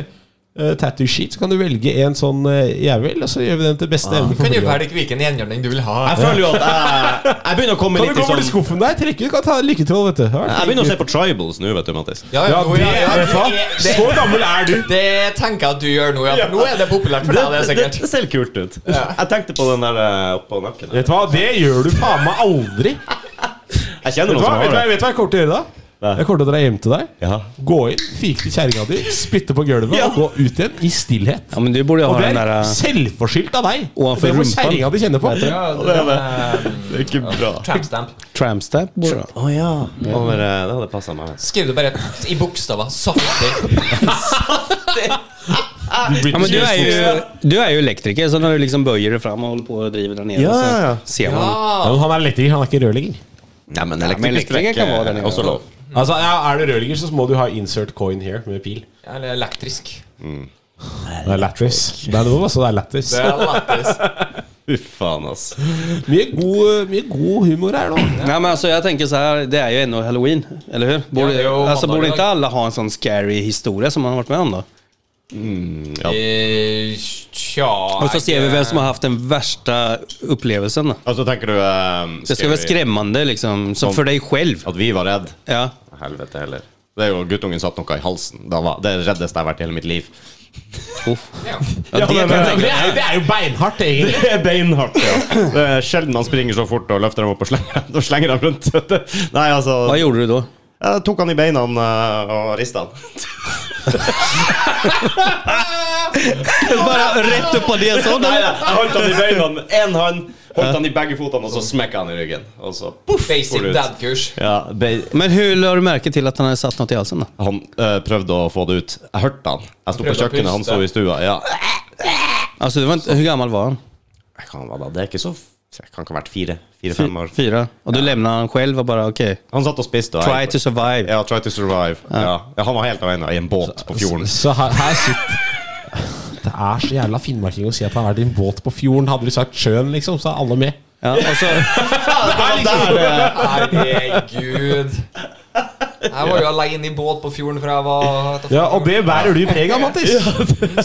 tattoo sheet. Så kan du velge en sånn eh, jeg vil, og så gjør vi den til beste evne. for Kan du miljøet. velge hvilken gjengjørning du vil ha? Jeg føler jo at jeg, jeg begynner å komme Kan du litt i gå over sånn til skuffen der? Trekke ut, kan ta lykketråd, vet du. Ja, Jeg begynner å se på tribals nå, vet du, Mattis. Ja, Ja, nå, det, ja, ja, vet du hva? det- Så gammel er du! Det tenker jeg at du gjør nå, ja. For nå er det populært for Det, deg, det er det, sikkert. det ser litt kult ut. Jeg tenkte på den der eh, oppå nakken. her. Vet du hva? Det gjør du faen meg aldri. Vet Jeg kjenner du noen hva, som vet du hva, har det. vet du hva jeg kommer til å gjøre da? Hva? Jeg kommer til å dra hjem til deg. Ja. Gå inn, fike til kjerringa di, spytte på gulvet Ja. og gå ut igjen i stillhet. Ja men du borde ju Og ha det den er där... eh, selvforskyldt av deg. Ovanfor Det må rumpa. kjerringa di kjenne på. Ja, eh, Det det, er det. Det er ikke bra. Trampstamp. Trampstamp borde du ha. Å ja. Over, eh, det hadde passa meg. Skriv det bare i bokstaver. Saftig. Ja, men du, är ju, du är ju elektriker, så när du liksom böjer dig fram och håller på och driver där nere Ja, så ja, ja. ser man. Ja, men han er elektriker, han er ikke rørlegger. Nei, men elektriker kan være den eh, en også gang. lov. Altså, ja, Er du rørlegger, så må du ha insert coin here med pil. Eller elektrisk. Det er lattis. Det er noe, altså. Det er lattis. Det er elektrisk. Fy faen, ass. Mye god, eh, mye god humor her nå. Nej, men alltså, jag tänker så här, det är ju ändå halloween, eller hur? Ja, det är Borde, ju alltså, måndag borde idag. inte alla ha en sån scary historia som man har varit med om då? Ja. Eh, Tja Och så ser vi vem som har haft den värsta upplevelsen. Då. Altså, tenker du eh, Det ska vara skal vi- skrämmande liksom, som Som- för dig själv. At vi var redd Ja. Helvete heller. Det er jo Guttungen satt noe i halsen. Det var det reddeste jeg har vært i hele mitt liv. Ja, det, kan jag tänka. Det er, det er jo beinhardt, egentlig. Det er beinhardt, ja. Det er sjelden han springer så fort og løfter dem opp og slenger, og slenger dem rundt. Nei, Vad altså gjorde du då? Jeg tok han i beina eh, og rista han. Bara rätt upp på det sån. Nei, nei, jeg holdt han i beina med én hånd, holdt han i begge fotene, og så smekka han i ryggen. Og så poff! Basic for ut. dad-kurs. Ja, be Men hur la du märke till att han hade satt något i halsen då? han eh, prøvde å få det ut. Jeg hørte han. Jeg sto på Prøvde å kjøkkenet, han puste. sto i stua. Ja. Alltså, det var inte, hur gammal var han? Jeg kan være da, det er ikke så Jeg kan ikke ha vært fire. Fire-fem år. Fyra? Och då lämnade han själv och bara okej, Han satt og spiste. Og try to survive. Ja, try to survive. Ja. Ja, han var helt alene i en båt på fjorden. Så her, her sitter Det er så jævla finnmarking å si at han har vært i en båt på fjorden. Hadde du sagt sjøen, liksom, så er alle med. Ja, och så, Herregud. Jeg var jo alene i båt på fjorden fra jeg var Ja, Og det bærer du preg av, Mattis.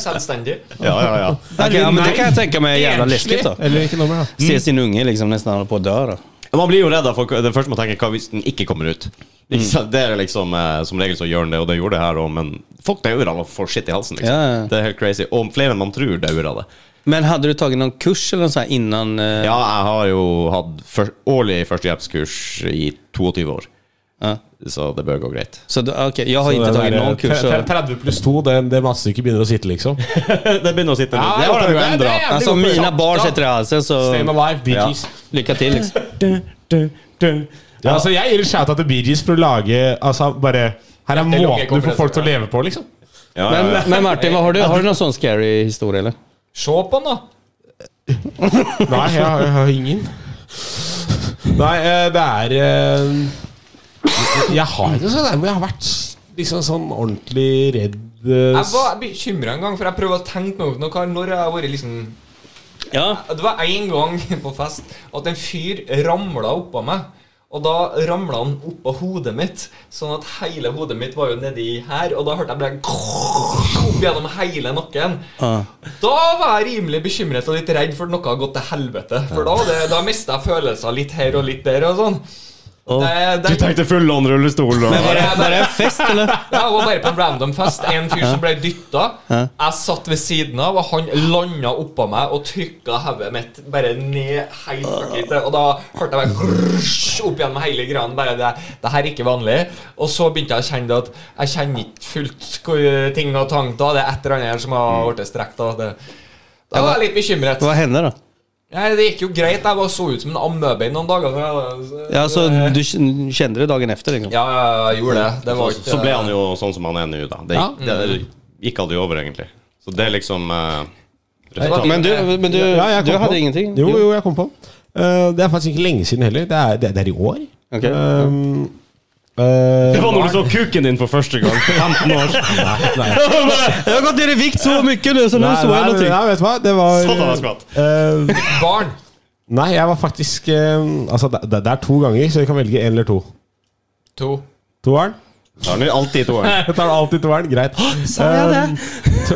selvstendig. Ja, ja, ja. Okej, ja, men det kan jag tänka mig är jävla läskigt då. Eller hvilket nummer, da? Se sin unge liksom nästan hålla på att dö då. Man blir jo redd av folk. Det første man tenker, hva hvis den ikke kommer ut? Ikke sant? Det er liksom, eh, Som regel så gjør den det, og det gjorde det her òg, men folk dauer av å få shit i halsen. liksom. Ja, ja. Det er helt crazy. Og flere enn man tror dauer av det. Men hade du tagit någon kurs eller något så här innan? eh, Ja, jeg har jo hatt fyr årlig førstehjelpskurs i 22 år, Ja. så det bør gå greit. Så du, okej, jag har Så Mm. inte det tagit der, någon kurs. tre- tre- Så, 30 pluss 2, det, det massestykket begynner å sitte, liksom. det begynner å sitte nå. Ja, Det har de jo det- det- endra. det- alltså om mina barn sätter i halsen så Stay alive, Bee Ja. Gees. lycka till liksom. Ja, altså, jeg gir en shout-out til Bee Gees for å lage Altså, bare Her er det logger måten du kompressor, får folk til å leve på, liksom. Ja, ja, ja. Men, men Martin, vad har, du, har du någon sån scary historia eller? Se på den, da. Nei, jeg har, jeg har ingen. Nei, eh, det er eh, jeg- Jeg har ikke sånn der, men jeg har vært s- liksom sånn ordentlig redd eh, Jeg var bekymra en gang, for jeg prøvde å tenke meg om noe. Når jeg har vært liksom Ja. Det var en gang på fest at en fyr ramla oppå meg. Og da ramla han oppå hodet mitt, sånn at hele hodet mitt var jo nedi her. Og da hørte jeg bare opp gjennom hele nakken. Ja. Da var jeg rimelig bekymret og litt redd for at noe har gått til helvete. For da, var det, da mista jeg følelser litt her og litt der og sånn. Det- det- Du tenkte full on rullestol og Var det, var det en fest eller? jeg var bare på en random fest. En fyr som ble dytta. Jeg satt ved siden av, og han landa oppå meg og trykka hodet mitt bare ned helt fuckings Og da hørte jeg bare grrrsj opp gjennom hele greia. Bare det, det her er ikke vanlig. Og så begynte jeg å kjenne det at jeg kjenner ikke fullt hvor ting og tang. Da er det et eller annet her som har blitt strekt. Da, det, da var jeg litt bekymret. Vad hände då? Nei, det gikk jo greit. Jeg var så ut som en ammøbe i noen dager. Ja, alltså, du k- kände det dagen efter liksom? Ja, jeg gjorde det. Det var så, ikke så ble han jo sånn som han er nå, da. Det, det gikk aldri over, egentlig. Så det er liksom eh, resultatet. Men du, men du, Ja, jeg kom du på hade den. ingenting? Jo, jo, jeg kom på den. Eh, det er faktisk ikke lenge siden heller. Det er, det, det er i år. Ok. Um, eh, Det var når du så kuken din for første gang. 15 år. Jeg har gått ned i vikt så mye nå, så nå Nei, så jeg nei, noe. Sånn nei, vet du hva? Det var Satan, Sånn jeg skvatt. eh, Barn. Nei, jeg var faktisk eh, Altså, det, det det er to ganger, så vi kan velge én eller to. To. Toeren? Da har han jo alltid toeren. Jeg tar alltid toeren. Greit. Ehm, Sa jeg det?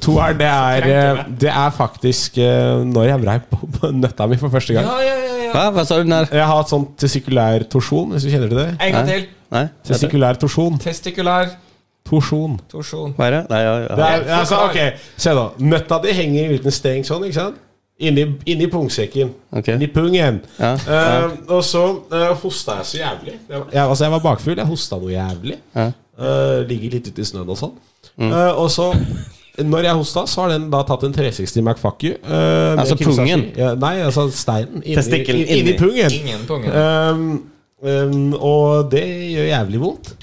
Toeren, det er eh, Det er faktisk eh, når jeg vrei på på nøtta mi for første gang. Ja, ja, ja, ja. Hva? Hva sa du? Når? Jeg har hatt sånn testikulær torsjon, hvis du kjenner til det. En gang til. Nei? Testikulær torsjon. Testikulær Torsjon. torsjon. Hva er det? Nei, ja, Det ja. er, altså, ok, se da. Nøtta di henger i en liten steng sånn, ikke sant? Inni, inni pungsekken. Ok. Inni pungen. Ja, Eh, og så uh, hosta jeg så jævlig. Jeg, jeg, altså, jeg var bakfull. Jeg hosta noe jævlig. Ja. Eh, ligger litt ute i snøen og sånn. Eh, og så når jeg hosta, så har den da tatt en 360 McFuck you. eh, med Altså Kirisashi. pungen? Ja, nei, altså steinen. Inni, Testikkelen inni, inni. pungen. Ingen tunge. Eh, eh, og det gjør jævlig vondt.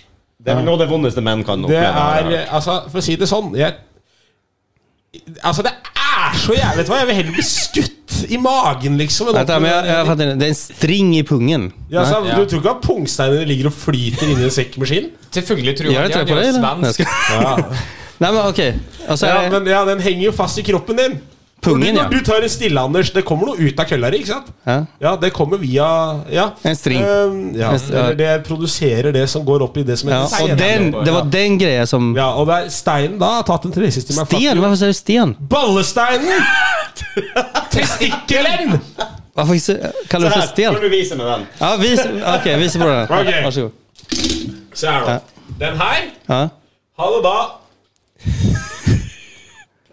Det er vel noe av det eh, vondeste menn kan Det oppleve. er Altså, for å si det sånn jeg, Altså, det er så jævlig Vet du hva, jeg vil heller bli skutt i magen, liksom. enn Vänta, men jeg, jeg oppleve- fattar inte. Det er en string i pungen. ja, altså, Ja. Du tror ikke at pungsteinene ligger og flyter inni en sekkmaskin? Selvfølgelig tror Gjør det jeg tre på deg, eller? Nei, jeg svensk. skal- Nei, men ok. Altså, Ja, er det men ja, den henger jo fast i kroppen din. Pungen, Når ja. du tar en stille, Anders, det kommer noe ut av kølla di, ikke sant? Ja. Ja, det kommer via Ja. En string. Ehm, ja, En str- ja. eller det produserer det som går opp i det som ja. heter stein. Og den, det var den greia som Ja, og det er steinen da har tatt en 360 med Sten? Hvorfor sier du sten? Ballesteinen! Testikkelen! Hvorfor ikke- kaller du det for sten? du vise med den? Ja, vis, ok, vis på den. Ok. Vær så god. Se her, da. Den her Ja. Ha det, da.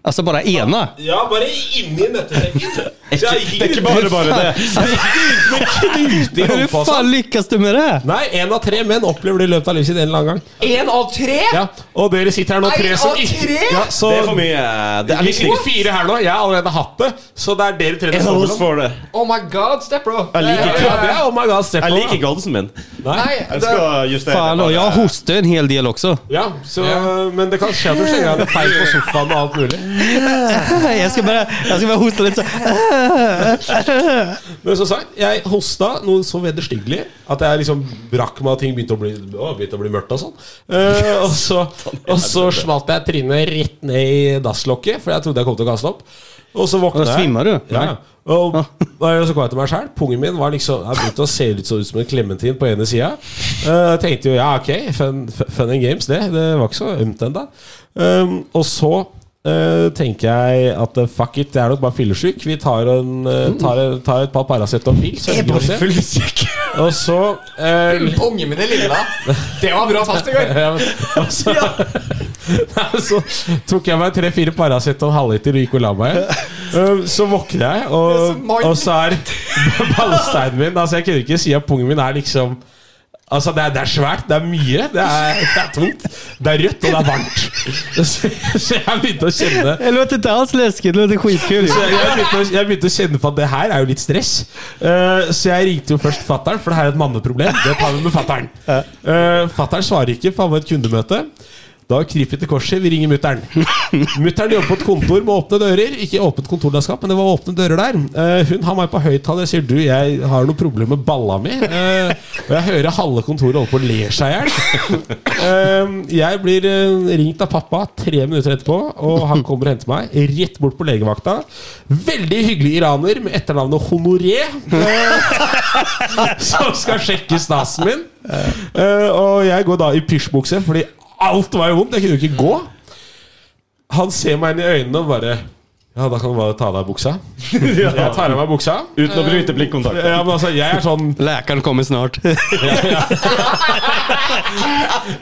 Altså bare ena? Ja, bare inni nøttesekken. Så jeg gikk ikke Bare, bare det. knute i Hvordan håndfasa. faen lykkes du med det? Nei, én av tre menn opplever det i løpet av livet sitt en eller annen gang. Én av tre?! Ja, Og dere sitter her nå, tre Nei, som av tre? Ja, så Det er for mye eh, det er Vi litt sitter fire her nå. Jeg har allerede hatt det, så det er dere tre Jeg som holder oss står for mellom. det. Oh my god, stepbro! Jeg liker ikke- Ja, det er oh my god, se på Jeg liker da. ikke oddsen min. Nei, Jeg det, skal justere Faen, og jeg hoster en hel del også. Ja, så, Men det kan skje at du slenger deg feil på sofaen og alt mulig. Jeg skal bare, jeg skal bare hoste litt, så Men som sagt, jeg hosta noe så vederstyggelig at jeg liksom brakk meg, og ting begynte å bli, å, begynte å bli mørkt og sånn. Eh, og så, og så smalt jeg trynet rett ned i dasslokket, for jeg trodde jeg kom til å kaste opp. Og så våkna Da jeg. svimmer du? Ja. Og, og så kom jeg til meg sjøl. Pungen min var liksom Jeg begynte å se ut, så ut som en klementin på ene sida. Eh, Jeg tenkte jo ja, ok, fun, fun and games, det. Det var ikke så ømt ennå. Um, og så eh, tenker jeg at eh, fuck it, jeg er nok bare fyllesyk. Vi tar, en, eh, tar, tar et par Paracet og en pils. så ønsker vi oss det. fyllesyk. Og så eh, Ungen min er lilla. Det var bra fast i går. Ja, men, altså, Nei, så tok jeg meg tre-fire Paracet og en halvliter og gikk og la meg. Um, Så våkner jeg, og, og så er ballsteinen min Altså Jeg kunne ikke si at pungen min er liksom Altså Det er, det er svært, det er mye, det er, det er tungt, det er rødt, og det er varmt. Så, så jeg begynte å kjenne Det låter inte alls läskigt, det låter skitkul. så jeg, jeg, begynte å, jeg begynte å kjenne på at det her er jo litt stress. Eh, så jeg ringte jo først fatter'n, for det her er et manneproblem. Det tar vi med fatter'n. Uh, fatter'n svarer ikke, for han var i et kundemøte. Da kryper vi til korset. Vi ringer mutter'n. Mutter'n jobber på et kontor med åpne dører. Ikke åpent kontorlandskap, men det var åpne dører der. Eh, hun har meg på høyttaler. Jeg sier du, jeg har noe problem med balla mi. Eh, og jeg hører halve kontoret holde på å le seg i hjel. Ehm, Jeg blir eh, ringt av pappa tre minutter etterpå, og han kommer og henter meg rett bort på legevakta. Veldig hyggelig iraner med etternavnet Honoré, eh, som skal sjekke stasen min. Eh, Og jeg går da i pysjbukse, fordi alt var jo vondt. Jeg kunne jo ikke gå. Han ser meg inn i øynene og bare Ja, da kan du bare ta av deg buksa. Jeg tar av meg buksa. Uten å bryte blikkontakt. Ja, men altså, jeg er sånn Läkaren kommer snart.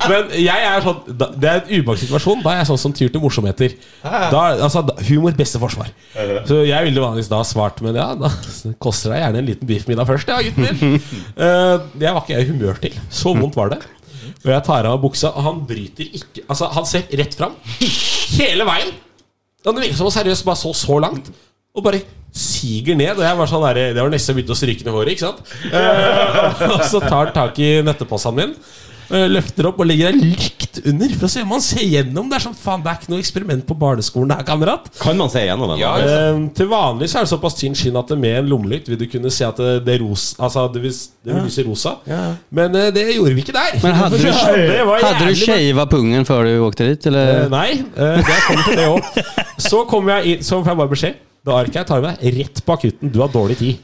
Men jeg er sånn da- Det er en ubehagelig situasjon. Da er jeg sånn som tyr til morsomheter. Da, er- altså, da- humor beste forsvar. Så jeg ville vanligvis da svart, men ja, da koster det gjerne en liten biffmiddag først, ja, gutten min. Eh, Det var ikke jeg i humør til. Så vondt var det. Og jeg tar av meg buksa, og han bryter ikke Altså, han ser rett fram. Hele veien. Og det virker som han seriøst bare så så langt. Og bare siger ned. Og jeg var sånn der, Det var nesten jeg begynte å stryke ned håret. ikke sant? Eh, og så tar han tak i nøtteposen min. eh, Løfter opp og legger deg likt under for å se om han ser gjennom. Det er sånn, faen, det er ikke noe eksperiment på barneskolen her, kamerat. Kan man se gjennom den? da? Eh, til vanlig så er det såpass tynn skinn at med en lommelykt vil du kunne se at det, det, er ros, altså, det, vil, det vil lyse rosa. Men eh, det gjorde vi ikke der. Men hadde du, Det var hade du jævlig bra. shavat pungen før du åkte dit? Eh, Eller? nei, eh, jeg kommer til det òg. Så kom jeg inn, så får jeg bare beskjed. Da arket jeg tar med deg rett på akutten. Du har dårlig tid.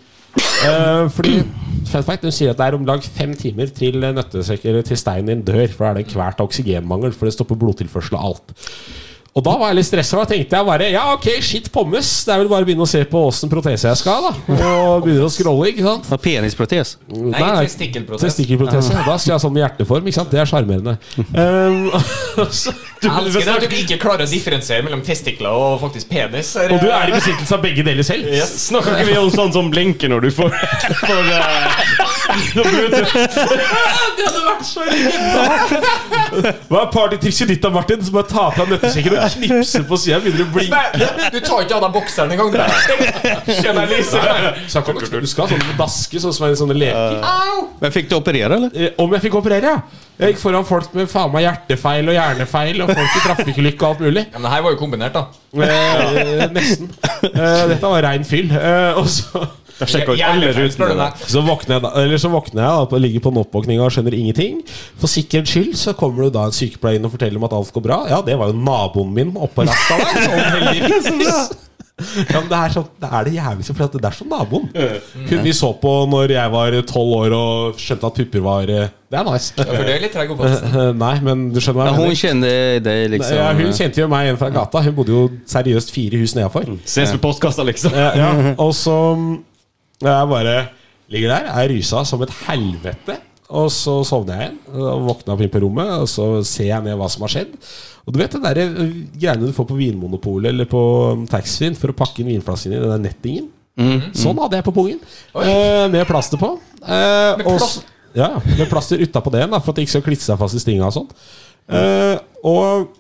Eh, fordi fun fact, Hun sier at det er om lag fem timer til, eh, nøttesekk- eller til steinen din dør. For da er det en kvært oksygenmangel, for det stopper blodtilførsel og alt. Og da var jeg litt stressa. Da tenkte jeg bare ja, ok, shit pommes. Det er vel bare å begynne å se på åssen protese jeg skal ha, da. Og begynner å scrolle, ikke sant. Har penisprotes? Nei, Nei. testikkelprotest. Testikkelprotese. Da skal jeg ha sånn hjerteform, ikke sant. Det er sjarmerende. Eh, så- Jeg elsker det at du ikke klarer å differensiere mellom testikler og faktisk penis. og du er i besittelse av begge deler selv. Snakker ikke vi om sånn som blinker når du får, får eh, når Bluetooth? Hva er partytrikset ditt da, Martin? Som bare ta fra nøttesekken og knipse på sida? Begynner å blinke? Nei, du tar ikke av deg bokseren engang. Skjønner jeg, Lise. Så jeg kan nok huske å ha sånne på daske, sånn som er sånne leker. Au! Men fikk du operere, eller? Eh, Om jeg fikk operere, ja. Jeg gikk foran folk med faen meg hjertefeil og hjernefeil, og folk i trafikkulykke og alt mulig. Ja, men det her var jo kombinert, da. Eh, nesten. Eh, dette var rein fyll. Eh, og så Da sjekker ut alle Hjernefeil, spør du rutene. meg. så våkner jeg da Eller så våkner jeg da på- ligger på en oppvåkning og skjønner ingenting. For sikkerhets skyld så kommer det da en sykepleier inn og forteller om at alt går bra. Ja, det var jo naboen min oppå rasta der. Sånn heldigvis. Ja, men det er, sånn, det er det jævligste, for at det er som naboen. Hun vi så på når jeg var tolv år og skjønte at pupper var eh, Det er nice. Ja, for det er litt treg oppvekst. Eh, Nei, men du skjønner hva Ja, jeg hon mener. kände dig liksom? Ja, hun kjente jo meg igjen fra gata. Hun bodde jo seriøst fire hus nedafor. Ses ved postkassa, liksom. Ja, ja. Og så mm, jeg bare ligger der, er rusa som et helvete. Og så sovner jeg igjen. og Våkna opp inn på rommet, og så ser jeg ned hva som har skjedd. Og du vet det der eh, greiene du får på Vinmonopolet eller på mm, taxfree-en for å pakke inn vinflasken i den der nettingen. Mhm. Sånn hadde jeg på pungen. Eh, med plaster på. Eh, og s- plaster? ja, med plaster utapå det igjen, da, for at det ikke skal klitte seg fast i stinga og sånn. Eh, og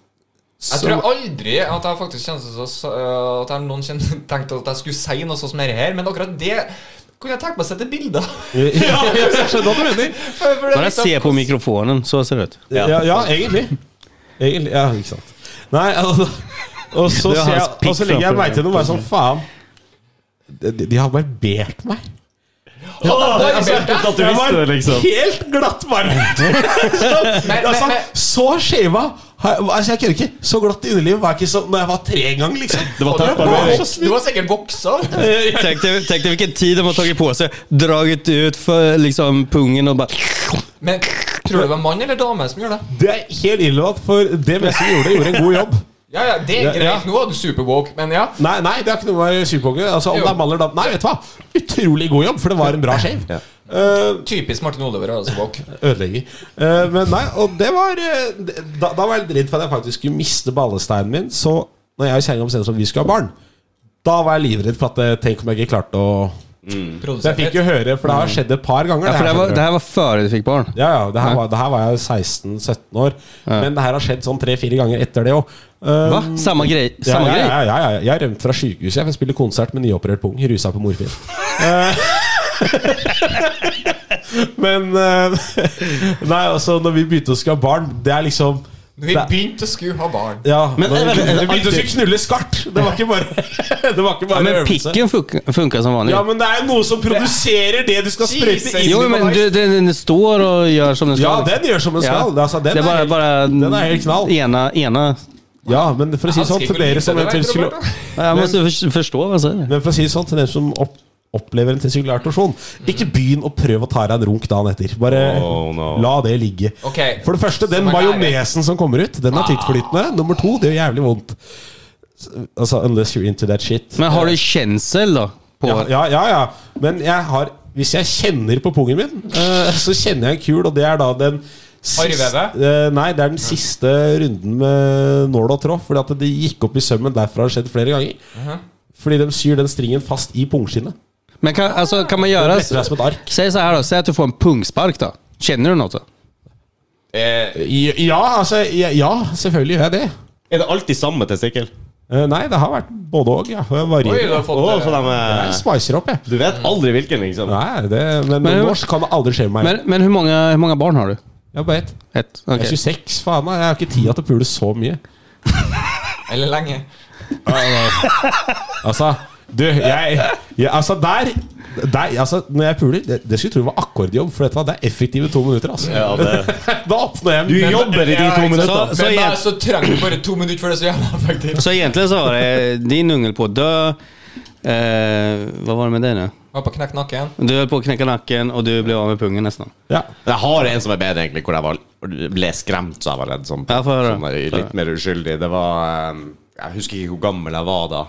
Jeg tror aldri at jeg faktisk kjenner så, så, at jeg noen kjenner, tenkte at jeg skulle si noe sånt som dette her, men akkurat det kunne jeg tenke meg å sette bilder av. ja, jeg skjønner hva du mener. For- for det er liksom- Bara litt av- se på mikrofonen, så ser det ut. Ja, ja, egentlig. egentlig. Ja, ikke sant. Nei, altså Og så, Det er ser jeg, hans pick og så legger jeg fra- meg til dem og bare sånn Faen. De, de har barbert meg. det er så kult at du visste det, liksom. Helt glattbarbert! Men, men, Altså, men, så skjeva har- altså, Jeg kødder ikke. Så glatt i underlivet var jeg ikke sånn da jeg var tre gang, liksom. Det var du, teppbarbering. var, du var sikkert voksa. Tänk dig, tänk dig vilken tid de har tagit på sig, dragit ut för liksom pungen och bara... Men tror du det var mann eller dame som gjorde det? Det er helt irrelevant, for det Wessel gjorde, gjorde en god jobb. Ja, ja, det er Ja, greit. ja. Nå var du superwoke, men ja. Nei, nei, det har ikke noe med å være superkonge. Altså, om Jo. det er mann eller dame Nei, vet du hva? Utrolig god jobb, for det var en bra shave. Ja. Eh, Typisk Martin Oliver, altså woke. ødelegger. Eh, men nei, og det var eh, det- da, da var jeg litt redd for at jeg faktisk skulle miste ballesteinen min. Så når jeg og kjerringa bestemte oss for at vi skulle ha barn, da var jeg livredd for at eh, Tenk om jeg ikke klarte å Mm. Så jeg Produsert fikk jo litt. høre, for det har skjedd et par ganger. Ja, for det, här skjønner var, det du. här var före du fick barn. Ja, ja, det her, var, det her var jeg 16-17 år. Men det her har skjedd sånn tre-fire ganger etter det òg. Va? Samma grej? Ja, ja, Samma grej? ja, ja, ja. Jeg har rømt fra sykehuset Jeg for å spille konsert med nyoperert pung. Rusa på morfin. Eh, Men eh, Nei, altså, når vi begynte å skulle ha barn, det er liksom Vi det- begynte å skulle ha barn. ja, Men- når eh, vi men- begynte- vi begynte å skulle knulle skart! Det var ikke bare, det var ikke Ja, bare men øvelse. picken funkar, funkar som vanligt. Ja, men det er jo noe som produserer det du skal sprøyte Jesus. inn. jo, men du, den, den står och gör som den ska. Ja, den gjør som den Ja. skal. Altså, den det är bara, helt- bara den er helt knall. ena, ena. Ja, men for å si Han det sånn skriver til dere lite, som det vet eventuelt du, skulle Roberto. Jag måste för, förstå vad han säger. Men for å si det sånn til dem som opp, opplever en testikulær torsjon, ikke begynn å prøve å ta deg en runk dagen etter. Bare Oh, no. la det ligge. Ok. For det første, den Som er Ah. majonesen som kommer ut, den er tyktflytende. Nummer to, det gjør jævlig vondt. Altså, unless you're into that shit. Men har du känsel då? På, Ja, ja, ja. ja. Men jeg har Hvis jeg kjenner på pungen min, eh, så kjenner jeg en kul, og det er da den Arrvevet? eh, nei, det er den siste runden med nål og tråd. Fordi at det gikk opp i sømmen. Derfor har det skjedd flere ganger. Fordi de syr den stringen fast i pungskinnet. Men kan, alltså, kan man göra... Letter deg som et ark. Säg så här då, säg att du får en pungspark då. Känner du något då? Eh, Ja, altså, ja, ja, selvfølgelig gjør jeg det. Er det alltid samme testikkel? Eh, Nei, det har vært både òg. Ja. Jeg oi, du varierer. har Å, fått så eh, de Jeg er spicer opp, jeg. Du vet aldri hvilken, liksom. Nei, det, men, Men- norsk kan det aldri skje med meg. Men, men hur, många, hur många barn har du? jeg har bare ett. Ett? Okej. Jeg er 26, faen meg. Jeg har ikke tida til å pule så mye. Eller lenge. Altså, du, jeg, jeg Altså, der, der altså, Når jeg puler Det, det skulle jeg tro var akkordjobb, for vet du hva, det er effektive to minutter. Altså. Ja, det. Da åpner jeg Du jobber i de to minuttene. Så- så men da jeg- så trenger du bare to minutter før det er så jævla effektivt. Så egentligen så var det din ungel på att dö. Eh, vad var det med dig nu? Var på knekk nakken. Du höll på att knäcka nacken och du blev av med pungen nästan. ja. Jeg har en som er bedre, egentlig, hvor jeg var, ble skremt så jeg var redd. Sånn, Ja, få høre. sånn der, litt mer uskyldig. Det var eh, Jeg husker ikke hvor gammel jeg var da.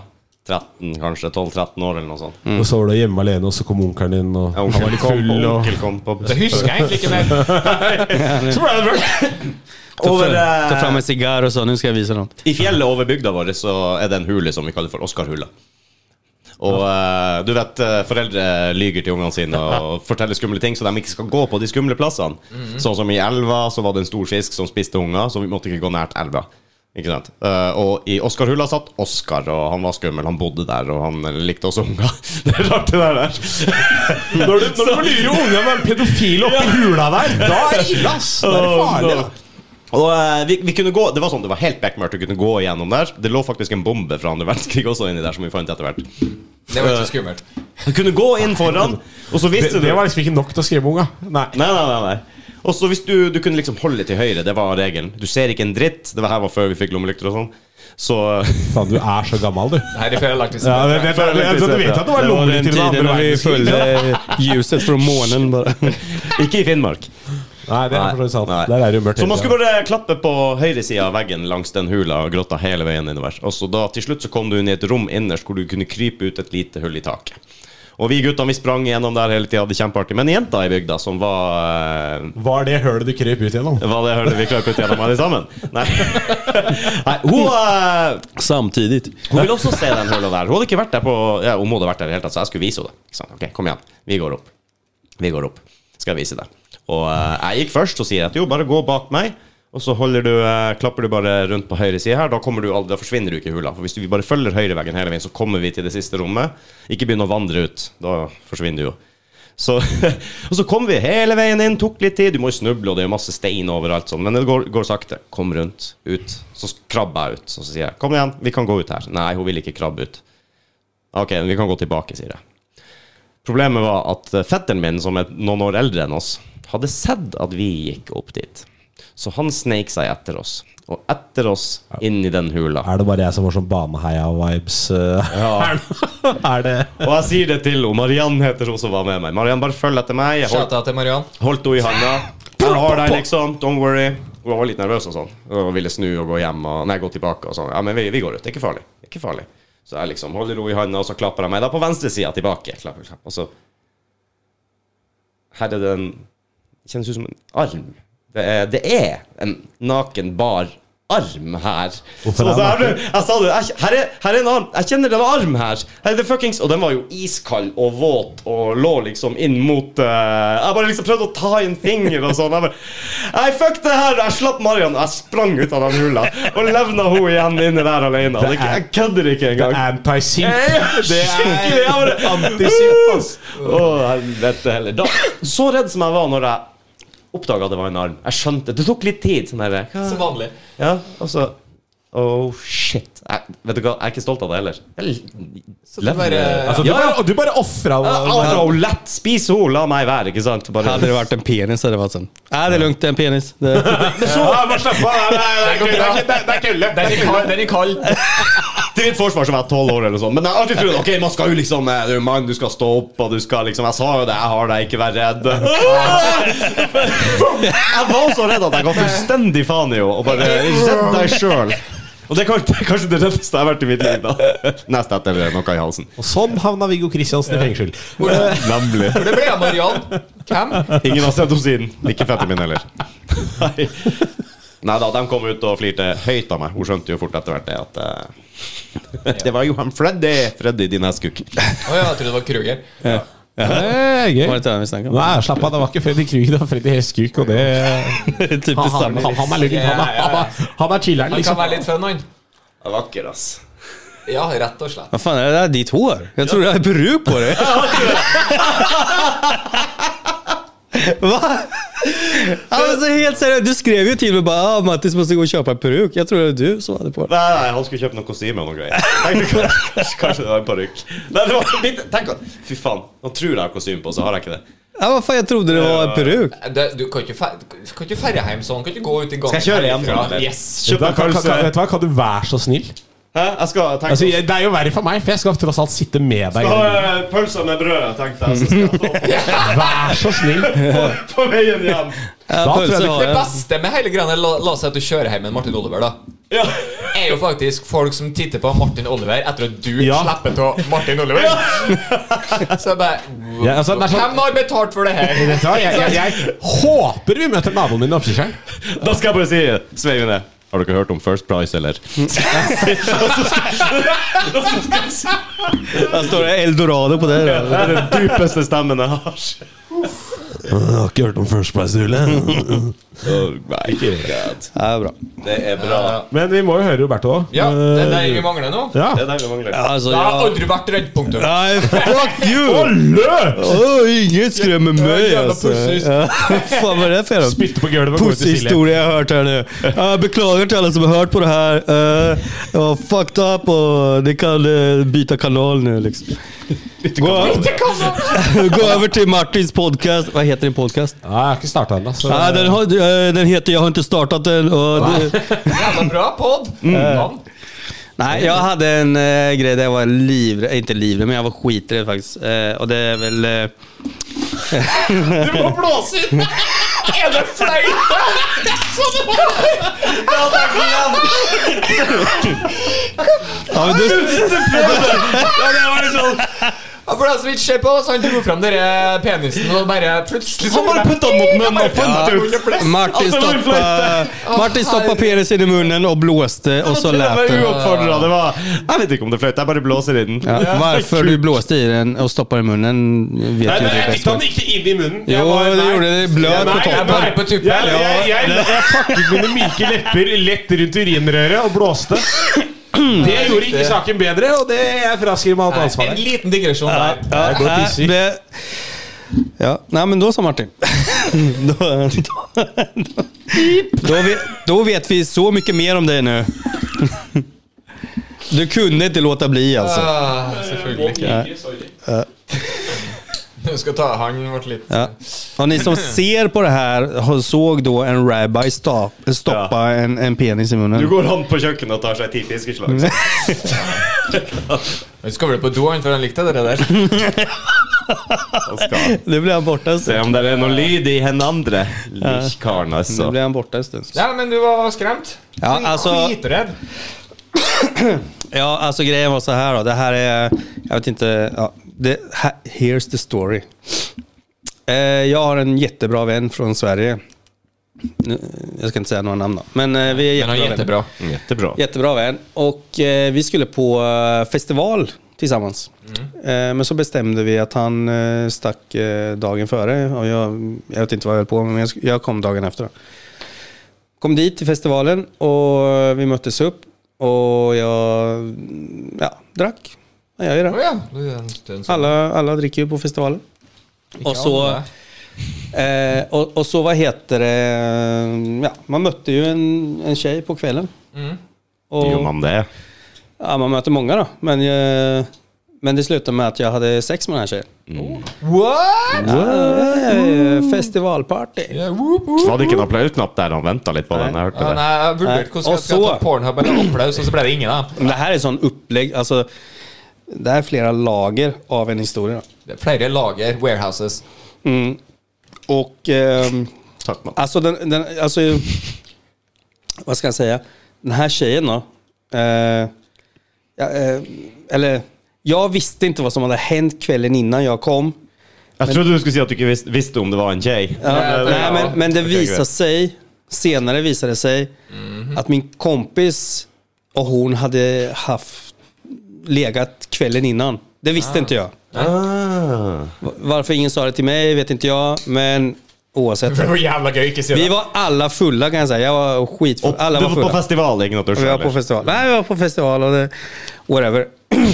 13, kanskje? 12-13 år, eller noe sånt. Og så var du hjemme alene, og så kom onkelen din, og han var litt kom, full. Og, onkel kom på Det husker jeg egentlig ikke mer. Ta, Over, fram, ta eh, fram en sånn. cigarr och sa nu ska jag visa något. I fjellet over bygda vår så er det en hule som vi kaller for Oscar-hula. Og eh, du vet, eh, foreldre lyger til ungene sine og forteller skumle ting, så de ikke skal gå på de skumle plassene. Mhm. Sånn som i elva, så var det en stor fisk som spiste unger, så vi måtte ikke gå nært elva. Ikke sant? Eh, og i Oscar-hula satt Oscar, og han var skummel. Han bodde der, og han likte også unger. Det er rart, det der der. når du, når du må lure unga med en pedofil oppi hula der, da er det ille, ass! Da er det farlig. Da. Og eh, vi, vi kunne gå, Det var sånn, det var helt bekmørkt, du kunne gå igjennom der. Det lå faktisk en bombe fra andre verdenskrig også inni der, som vi fant etter hvert. Det var ikke så skummelt. Du kunne gå inn foran, og så Det, visste du det var liksom ikke nok til å skremme unga. Nei. Nei, nei, nei, nei. Og så hvis du, du kunne liksom holde til høyre, det var regelen. Du ser ikke en dritt. Det her var før vi fikk lommelykter og sånn. Så Faen, du er så gammel, du. Det her er før jeg har lagt Ja, det, det det, det, det, du vet at det var var den lommelykter i den tiden andre när vi verdenskrigen? följde ljuset från månen bara. ikke i Finnmark. Nei, det er for så vidt sant. Nei. Der er det jo mørkt. Så man hele skulle bare klappe på høyresida av veggen langs den hula og grotta hele veien innover. Og så da til slutt så kom du inn i et rom innerst hvor du kunne krype ut et lite hull i taket. Og vi guttene vi sprang gjennom der hele tida, hadde kjempeartig. Men jenta i bygda som var eh, Var det hølet du krøp ut gjennom? Var det hølet vi klarte ut gjennom alle sammen? Nei. Nei hun eh, Samtidigt. Hun ville også se den hullet der. Hun hadde ikke vært der på ja, Hun måtte vært der i det hele tatt, så jeg skulle vise henne det. Ikke sant? Ok, kom igjen. Vi går opp. Vi går opp. Skal jeg vise deg. Og eh, jeg gikk først og sier at jo, bare gå bak meg. Og så holder du, eh, klapper du bare rundt på høyre side her. Da, kommer du aldri, da forsvinner du ikke i hula. For hvis du vi bare følger høyreveggen hele veien, så kommer vi til det siste rommet. Ikke begynn å vandre ut. Da forsvinner du jo. Så, og så kom vi hele veien inn, tok litt tid. Du må jo snuble, og det er masse stein overalt. Sånn. Men det går, går sakte. Kom rundt. Ut. Så krabber jeg ut. Så sier jeg 'Kom igjen, vi kan gå ut her'. Nei, hun vil ikke krabbe ut. Ok, vi kan gå tilbake, sier jeg. Problemet var at eh, fetteren min, som er noen år eldre enn oss, hadde sett at vi gikk opp dit. Så han sneik seg etter oss. Og etter oss inn i den hula. Er det bare jeg som får sånn baneheia-vibes? Ja. er det Og jeg sier det til henne. Mariann heter hun som var med meg. Mariann, bare følg etter meg. Jeg holdt, Shouta til Mariann. holdt henne i handa. Jeg har deg, liksom. Don't worry. Hun var litt nervøs og sånn. Og ville snu og gå hjem og Nei, gå tilbake og sånn. Ja, men vi, vi går ut. Det er ikke farlig. Det er ikke farlig. Så jeg liksom holder henne i handa, og så klapper jeg meg da på venstresida tilbake. Klapp, klapp. Og så Her er det en Kjennes ut som en arm. Det er, det er en naken, bar arm her. Så, så her, jeg sa det, jeg, her, er, her er en arm. Jeg kjenner det var arm her. her er det fuckings, og den var jo iskald og våt og lå liksom inn mot eh, Jeg bare liksom prøvde å ta i en finger og sånn. Jeg bare, Nei, fuck det her! Jeg slapp Marian, og jeg sprang ut av den hula og levna henne igjen inne der alene. Og det- Jeg kødder ikke engang. Anti-sync. Det er skikkelig jeg bare- Antisynk, ass. Å, helvete heller. Da, så redd som jeg var når jeg oppdaga at det var en arm. Jeg skjønte Det tok litt tid. Sånn der, Som hva? vanlig. Ja, og så Oh, shit. Jeg, vet du hva, jeg er ikke stolt av det heller. Jeg du bare- altså, Du ja, ja. bare, du bare ofra Afra altså. og lett. Spis henne, la meg være, ikke sant? Bare, Hade det varit en penis hade det varit sånn. Nej, det är lugnt, det är en penis. Det, Den er kald. Den er kald. Til mitt forsvar så var jeg tolv år, eller noe sånt. Men jeg har alltid trodd ok, man skal jo liksom eh, Du er mann, du skal stå opp, og du skal liksom Jeg sa jo det, jeg har deg, ikke vær redd. Jeg var så redd at jeg ga fullstendig faen i henne, og bare Redd deg sjøl. Og det er kanskje, det er kanskje det reddeste jeg har vært i mitt liv. da Nest etter noe i halsen. Og sånn havna Viggo Kristiansen i fengsel. Nemlig. For det ble av Mariann. Hvem? Ingen har sett henne siden. Ikke fetteren min heller. Nei. Nei da, de kom ut og flirte høyt av meg. Hun skjønte jo fort etter hvert det at eh, Det var jo han Freddy, Freddy din hestkuk. Å ja, jeg trodde det var Kruger. Eh, var det Gøy. inte det vi snackade om? Nei, slapp av, det var ikke Freddy Krüger, det var Freddy Heskuk, og det Det är typ Han, han, samma. han, han er luggen, han, er- han, er- han er chiller'n, Han kan liksom. være litt fun, han. Vakker, ass. Ja, rett og slett. Vad fan är det där? Ditt hår? Jag tror det är peruk på det. Va? Alltså helt seriöst, du skrev ju till mig bara ah, Mattis måste gå och köpa en peruk. Jag tror det var du som hade på det. Nei, nei, han skulle kjøpe noen kostyme og noe greier. Tenkte kanskje, kanskje det var en parykk. Nei, det var litt Tenk at Fy faen, han tror jeg har kostyme på, så har jeg ikke det. Ja, vad fan, jag trodde det var en peruk. Det, du kan ikke, fer- kan ikke ferre hjem sånn. Kan ikke gå ut i gangen. Skal jeg kjøre hjem, herfra? eller? Yes. Kjøp en Da, kan, kan, pølse. kan, vet du hva, kan du være så snill? Hæ? Jeg skal tenke Altså, jeg- det er jo verre for meg, for jeg skal tross alt sitte med deg. Ta eh, pølser med brød, tenkte jeg, så skal jeg ta på- Vær så snill! på, på veien hjem. Ja, tror jeg pölse det- har Det jag. beste med hele greia la, la oss si at du kjører hjem med Martin Oliver, da. Ja. Er jo faktisk folk som titter på Martin Oliver etter at du Ja. slipper av Martin Oliver. Så jeg bare Ja, altså, det er sånn- Hvem har betalt for det her? Vet du hva, jeg, jeg, jeg håper vi møter naboen min i Oppkjørselen. Da skal jeg bare si sveive ned. Har dere hørt om First Price, eller? Där står det eldorado på det. Det er den dypeste stemmen jeg har. Jeg har ikke hørt om First Price-rullet. Oh my god. Ja, bra. Det er bra. Men vi må jo høre Roberto òg. Ja, det er det vi mangler nå. Ja. Det er det vi mangler. Alltså, Jeg har jag... aldri vært redd, punktum. Nej, altså, fuck you! Løp! Åh, inget skrämmer mig jävla alltså. pussehys- altså. Ja, fan vad är det för jävla Spytte på gulvet og gå ut i stillhet. Pussehistoria jag har hört här nu. Jag beklagar till alla som har hört på det här. Eh, Jag var fucked up och ni kan eh, byta kanal nu liksom. Gå, gå över till Martins podcast. Vad heter din podcast? Ja, jeg har ikke starta ennå, så Ah, den, har, eh, den heter Jag har inte startat den. Och det, Jævla bra pod. Navn. Nej, jag hade en eh, grej där jag var livrädd, eh, inte livrädd, men jag var skiträdd faktiskt. Eh, och det är väl... eh, Du må blåse inn! Er det fleite? ja, men du, Ja, For deg som ikke ser på, så han dro fram dere eh, penisen, og bare plutselig så Han bare putta den mot munnen og fant Ja. ut. Martin Alltså, det var ju stoppade, Martin stoppade penisen i munnen och blåste och så Det lät var den. uoppfordra. Det var Jeg vet ikke om det fløyt, jeg bare blåser i den. Ja, varför du blåste i den och stoppade i munnen vet Nei, ju nei, du jeg bäst. fikk den ikke inn i munnen. Jeg Jo, var- det nei. gjorde det. Blöt på Nei, jeg toppen. bare- På tuppen. Jeg, jeg, jeg, jeg pakket mine myke lepper lett rundt urinrøret og blåste. Det gjorde ikke saken bedre, og det jeg fraskriver meg alt En ansvaret. liten digresjon der. Ja, går og tisser. nej, det- Ja. Nej, men då så Martin. då, då, då, vet, då vet vi så mycket mer om dig nu. Du kunde inte låta bli alltså. Ah, selvfølgelig. Jeg skal ta han vårt litt Ja. Och ni som ser på det här har- såg då en rabbi sta- stoppa en, en penis i Du munnen. går han på kjøkkenet og tar seg ti fiskeslag. så. Han skal vel på do, han, for han likte det der. Han skal Nu blir han borta en se stund. om det er noe lyd i hen andre. Lik karen, Nu altså. blir han borta en stund. Ja, men du var skremt? Ja, Men altså- Skitredd. Ja, alltså grejen var så här då. Det här är, jag vet inte, ja, det, här, here's the story. Eh, jag har en jättebra vän från Sverige. Nu, jag ska inte säga några namn då. Men eh, vi är jättebra, vänner. Jättebra. Jättebra vän. Och eh, vi skulle på eh, festival tillsammans. Eh, men så bestämde vi att han eh, stack eh, dagen före. Och jag, jag vet inte vad jag höll på med, men jag, sk- jag kom dagen efter. Då. Kom dit till festivalen och vi möttes upp. Och jag ja, drack. Jag gör ju Å det. ja. du er en stund sånn. Alla, alla dricker ju på festivalen. Och så, eh, och, och så vad heter det, ja, man mötte ju en, en tjej på kvällen. Mm. Och- Gjør man det? Ja, man möter många då. Men, eh, men det slutade med att jag hade sex med den här tjejen. What?! Eh, Festivalparty. Yeah, whoop, whoop. Hadde ikke en applausknapp der han venta litt på den. Jeg hørte Ja, det. nei, jeg vurderte hvordan Eh, Og jeg skulle så- ta Pornhub eller applaus, og så ble det ingen av dem. Men Det här är sån upplägg, alltså. Det här är flera lager av en historia. Det er Flere lager, warehouses. Mm. Och ehm, Takk, mann. alltså, den, den, alltså, vad ska jag säga? Den här tjejen då. Eh, ja, eh, eller, jag visste inte vad som hade hänt kvällen innan jag kom. Jeg trodde du skulle si at du ikke visste, visste om det var en tjej. eh, Ja, det- nej, men, men det Okej, visade greit. sig, senare visade det sig att min kompis och hon hade haft legat kvällen innan. Det visste inte jag. Ah. V- Varför ingen sa det till mig vet inte jag, men oavsett. Det var jævla gøy, ikke si Vi det. var alla fulla kan jag säga. Jag var skitfull. Og Alla du var var på fulla. festival, det er ikke noe du Vi var på skjønner. festival. Nej, vi var på festival och det, whatever.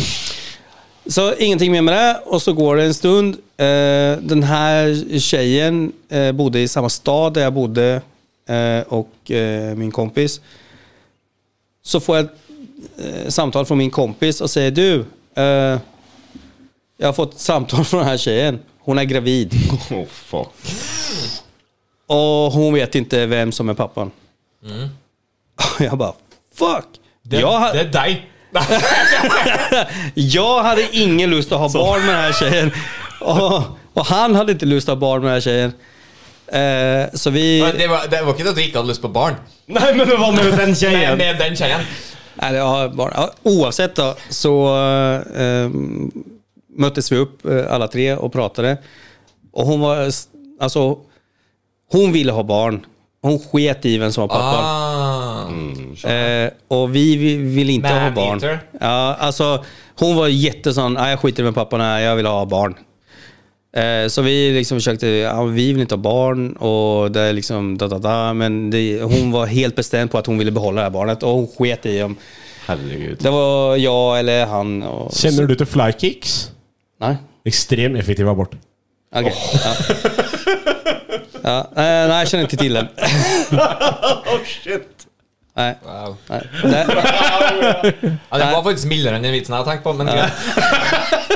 Så ingenting mer med det. Och så går det en stund. Eh, Den här tjejen eh, bodde i samma stad där jag bodde eh, och eh, min kompis. Så får jag ett eh, samtal från min kompis och säger du, eh, jag har fått ett samtal från den här tjejen. Hon är gravid Oh, fuck. och hon vet inte vem som är pappan. Jag bara fuck! Mm. Det, jag, ha- det er deg. Nei, Jag hade ingen lust att ha barn med den här tjejen. Och, och han hade inte lust att ha barn med den här tjejen. Eh, så vi... men det, var, det var ikke det at du ikke hadde lyst på barn. Nei, men det var med den Nei, tjejen. med den tjejen. Eller, ja, barn. Ja, Oavsett då, så eh, möttes vi upp eh, alla tre och pratade. Och hon var... s- Alltså, hon ville ha barn. Hon sket i vem som var pappan. Ah. Eh, och vi vi- vill inte ha barn. Man-eater. Ja, alltså, hon var jättesån, "Ah, jag skiter med pappa, nej, jag vill ha barn. Eh, så vi liksom försökte, ja, vi vill inte ha barn och det är liksom da, da, da, men det, hon var helt bestämd på att hon ville behålla det här barnet och hon sket i om Herregud. det var jag eller han. Och, Kjenner du til flykicks? nej. Ekstremt effektiv abort. Okej. Ja. Ja, eh, nej, jag känner inte till den. Oh, shit. Nej, Wow. nej. Det, Ja, det var faktisk mildere enn den vitsen jeg hadde tenkt på, men greit.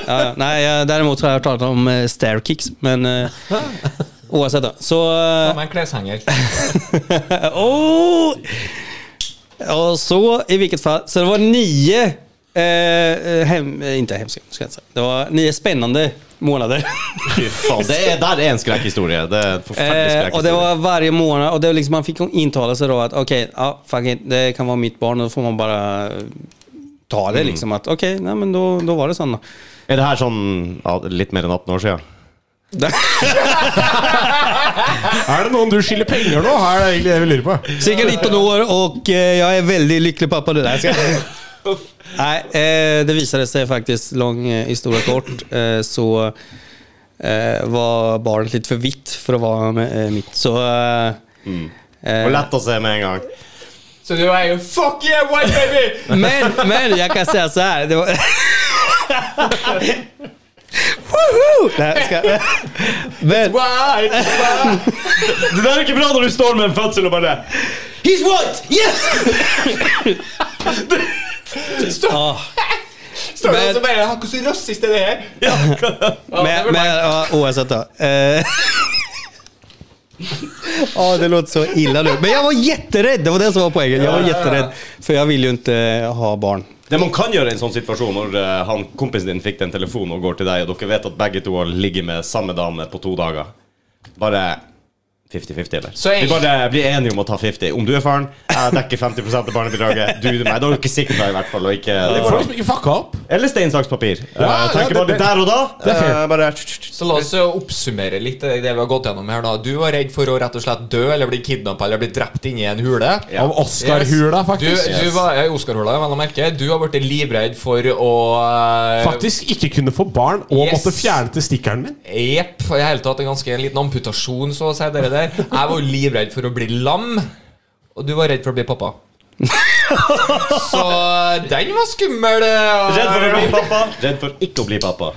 Ja, ja. nej, jag, däremot så har jag talat om eh, stair kicks, men eh, oavsett då. Så... Ta Eh, med en kleshenger. oh! Och så i vilket fall, så det var nio, eh, hem, eh, inte hemska, ska jag inte säga. Det var nio spännande månader. Fy faen. Det er, der er en skrekkhistorie. Det er en forferdelig Eh, och det skrekkhistorie. var varje månad och det var liksom, man fick intala sig då att okej, ja, fuck it, det kan vara mitt barn och då får man bara eh, ta det liksom att okej, nej men då, då var det sådana. Er det her sånn ja, litt mer enn 18 år siden? Er det noen du skylder penger nå? Er det egentlig det vi lurer på? Cirka 19 år och eh, jag är väldigt lycklig pappa. Det där. Nej, eh, det visade sig faktiskt, lång eh, historia kort, eh, så eh, var barnet lite för vitt för att vara med, eh, mitt. Så... Eh, Mm. Det var eh, lett å se med en gang. Så du er jo fuck yeah, white baby! men, men jag kan säga så här. Det var, Woohoo! Nei, jeg skal Men Det der er ikke bra når du står med en fødsel og bare He's white! Yes! ja, Står det Men- også bare Hvor så rasist er det her? men, men ja, oavsett då. Eh, Ja, det låter så illa nu. Men jag var jätterädd! Det var det som var poängen. Jag var jätterädd. För jag vill ju inte eh, ha barn. Det man kan gjøre i en sånn situasjon, når eh, han, kompisen din fikk den telefonen og går til deg, og dere vet at begge to har ligget med samme dame på to dager Bare 50-50, eller? Så jeg- Vi bare blir enige om å ta 50. Om du er faren, jeg dekker 50 av barnebidraget. Du meg. Da er du ikke sikker på det, i hvert fall. Og ikke, Det er folk som ikke fucka opp. eller stein, saks, papir. Eh, Ja, ja, tenker det- bare det- der og da. det er fair. eh, bare Så la oss jo oppsummere litt det vi har gått gjennom her nå. Du var redd for å rett og slett dø eller bli kidnappa eller bli drept inni en hule. Ja. Av Oscar-hula, faktisk. Du, du var, ja, Oscar-hula, vel å merke. Du har blitt livredd for å eh, Faktisk ikke kunne få barn og Yes. måtte fjerne testikkelen min. Jepp. I det hele tatt en ganske liten amputasjon, så å si. Dere der. Jeg var jo livredd for å bli lam, og du var redd for å bli pappa. Så den var skummel. eh, Redd for å bli pappa, redd for ikke å bli pappa.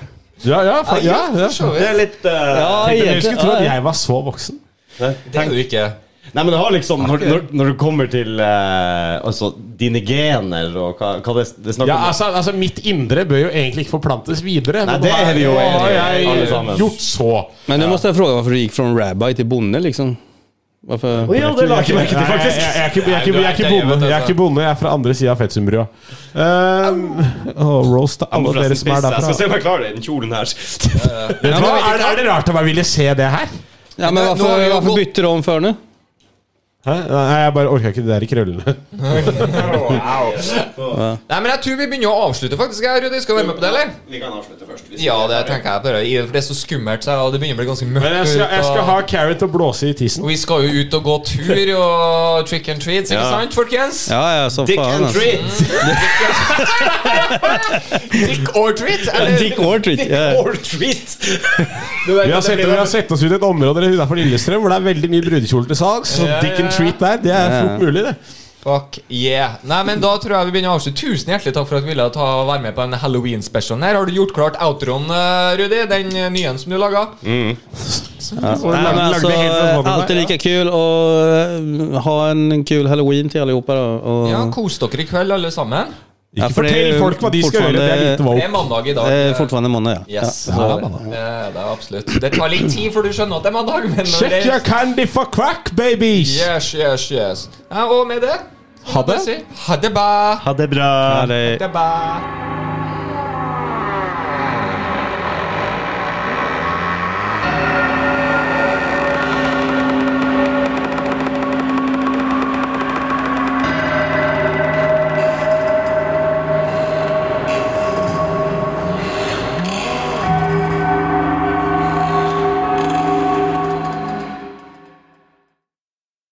Ja, ja, fa ja, ja. for så Det vidt. er litt eh, Tenkte jeg egentlig- skulle tro at ja, jeg var så voksen. Det er du ikke. Nei, men det har liksom Når, når, når du kommer til eh, altså, dine gener og hva, hva det, det snakker Ja, om altså, altså Mitt indre bør jo egentlig ikke forplantes videre. Nei, men det nå er vi jo nå enige i, har jeg alle sammen. gjort så. Men nu måste jag fråga varför du gick från rabbi till bonde liksom. Varför? Å ja, det la jeg ikke merke til, Nei, jeg, jeg, faktisk. jeg, er ikke- jeg, er ikke- jeg, er Nei, du ikke er ikke bonde, det, jeg er ikke bonde, jeg er fra andre sida av Fetsundbrua. Uh, roast til alle dere som er Jeg skal derfra. se om jeg klarer det. Den kjolen her. Vet du men hva? vet du Er, er det rart at jeg ville se det her? Ja, Men men nå har vi varför, jo varför gått- bytte du om för nu? Hæ? Nei, jeg bare orka ikke det der i krøllene. Nei, men jeg tror vi begynner å avslutte, faktisk. Jeg, Rudi, skal du være med på det, eller? Vi kan avslutte først. Ja, det tenker jeg bare. I- For det er så skummelt, så jeg- og det begynner å bli ganske mørkt. Men jeg skal, jeg skal og- ha Carrot og blåse i tissen. Vi skal jo ut og gå tur og trick and treats, ikke Ja. sant, folkens? Ja, ja, så Dick fan and alltså. treats. Trick or treat? Eller, Dick Ortrid. Ja. Or treat. Vi har sett, vi har sett oss ut i et område utenfor Lillestrøm hvor det er veldig mye brudekjoler til salgs. Så Ja, dick ja, and ja. treat der, det er Ja, ja. fort mulig, det. Fuck yeah. Nei, men da tror jeg vi begynner å avslutte. Tusen hjertelig takk for at du ville ta, være med på den Halloween-specialen her. Har du gjort klart outroen, eh, Rudi? Den eh, nye som du laga? Så Nej, lag- men lagde alltså, eh, helt sånn for meg. alltid lika kul och eh, ha en kul halloween till allihopa då. Och, Ja, kos dere i kveld, alle sammen. Ja, Ikke for det er fortell jo folk hva de skal gjøre, det er lite Det woke. er mandag i dag. det är fortfarande måndag ja. Yes. Eh, ja. Ja, det er det absolutt. Det tar litt tid, for du skjønner at det er mandag. Men når Check det your candy for crack, babies! Yes, yes, yes. Ja, og med det Ha det. Ha det bra. Ha det bra. Ja, det Ha det bra.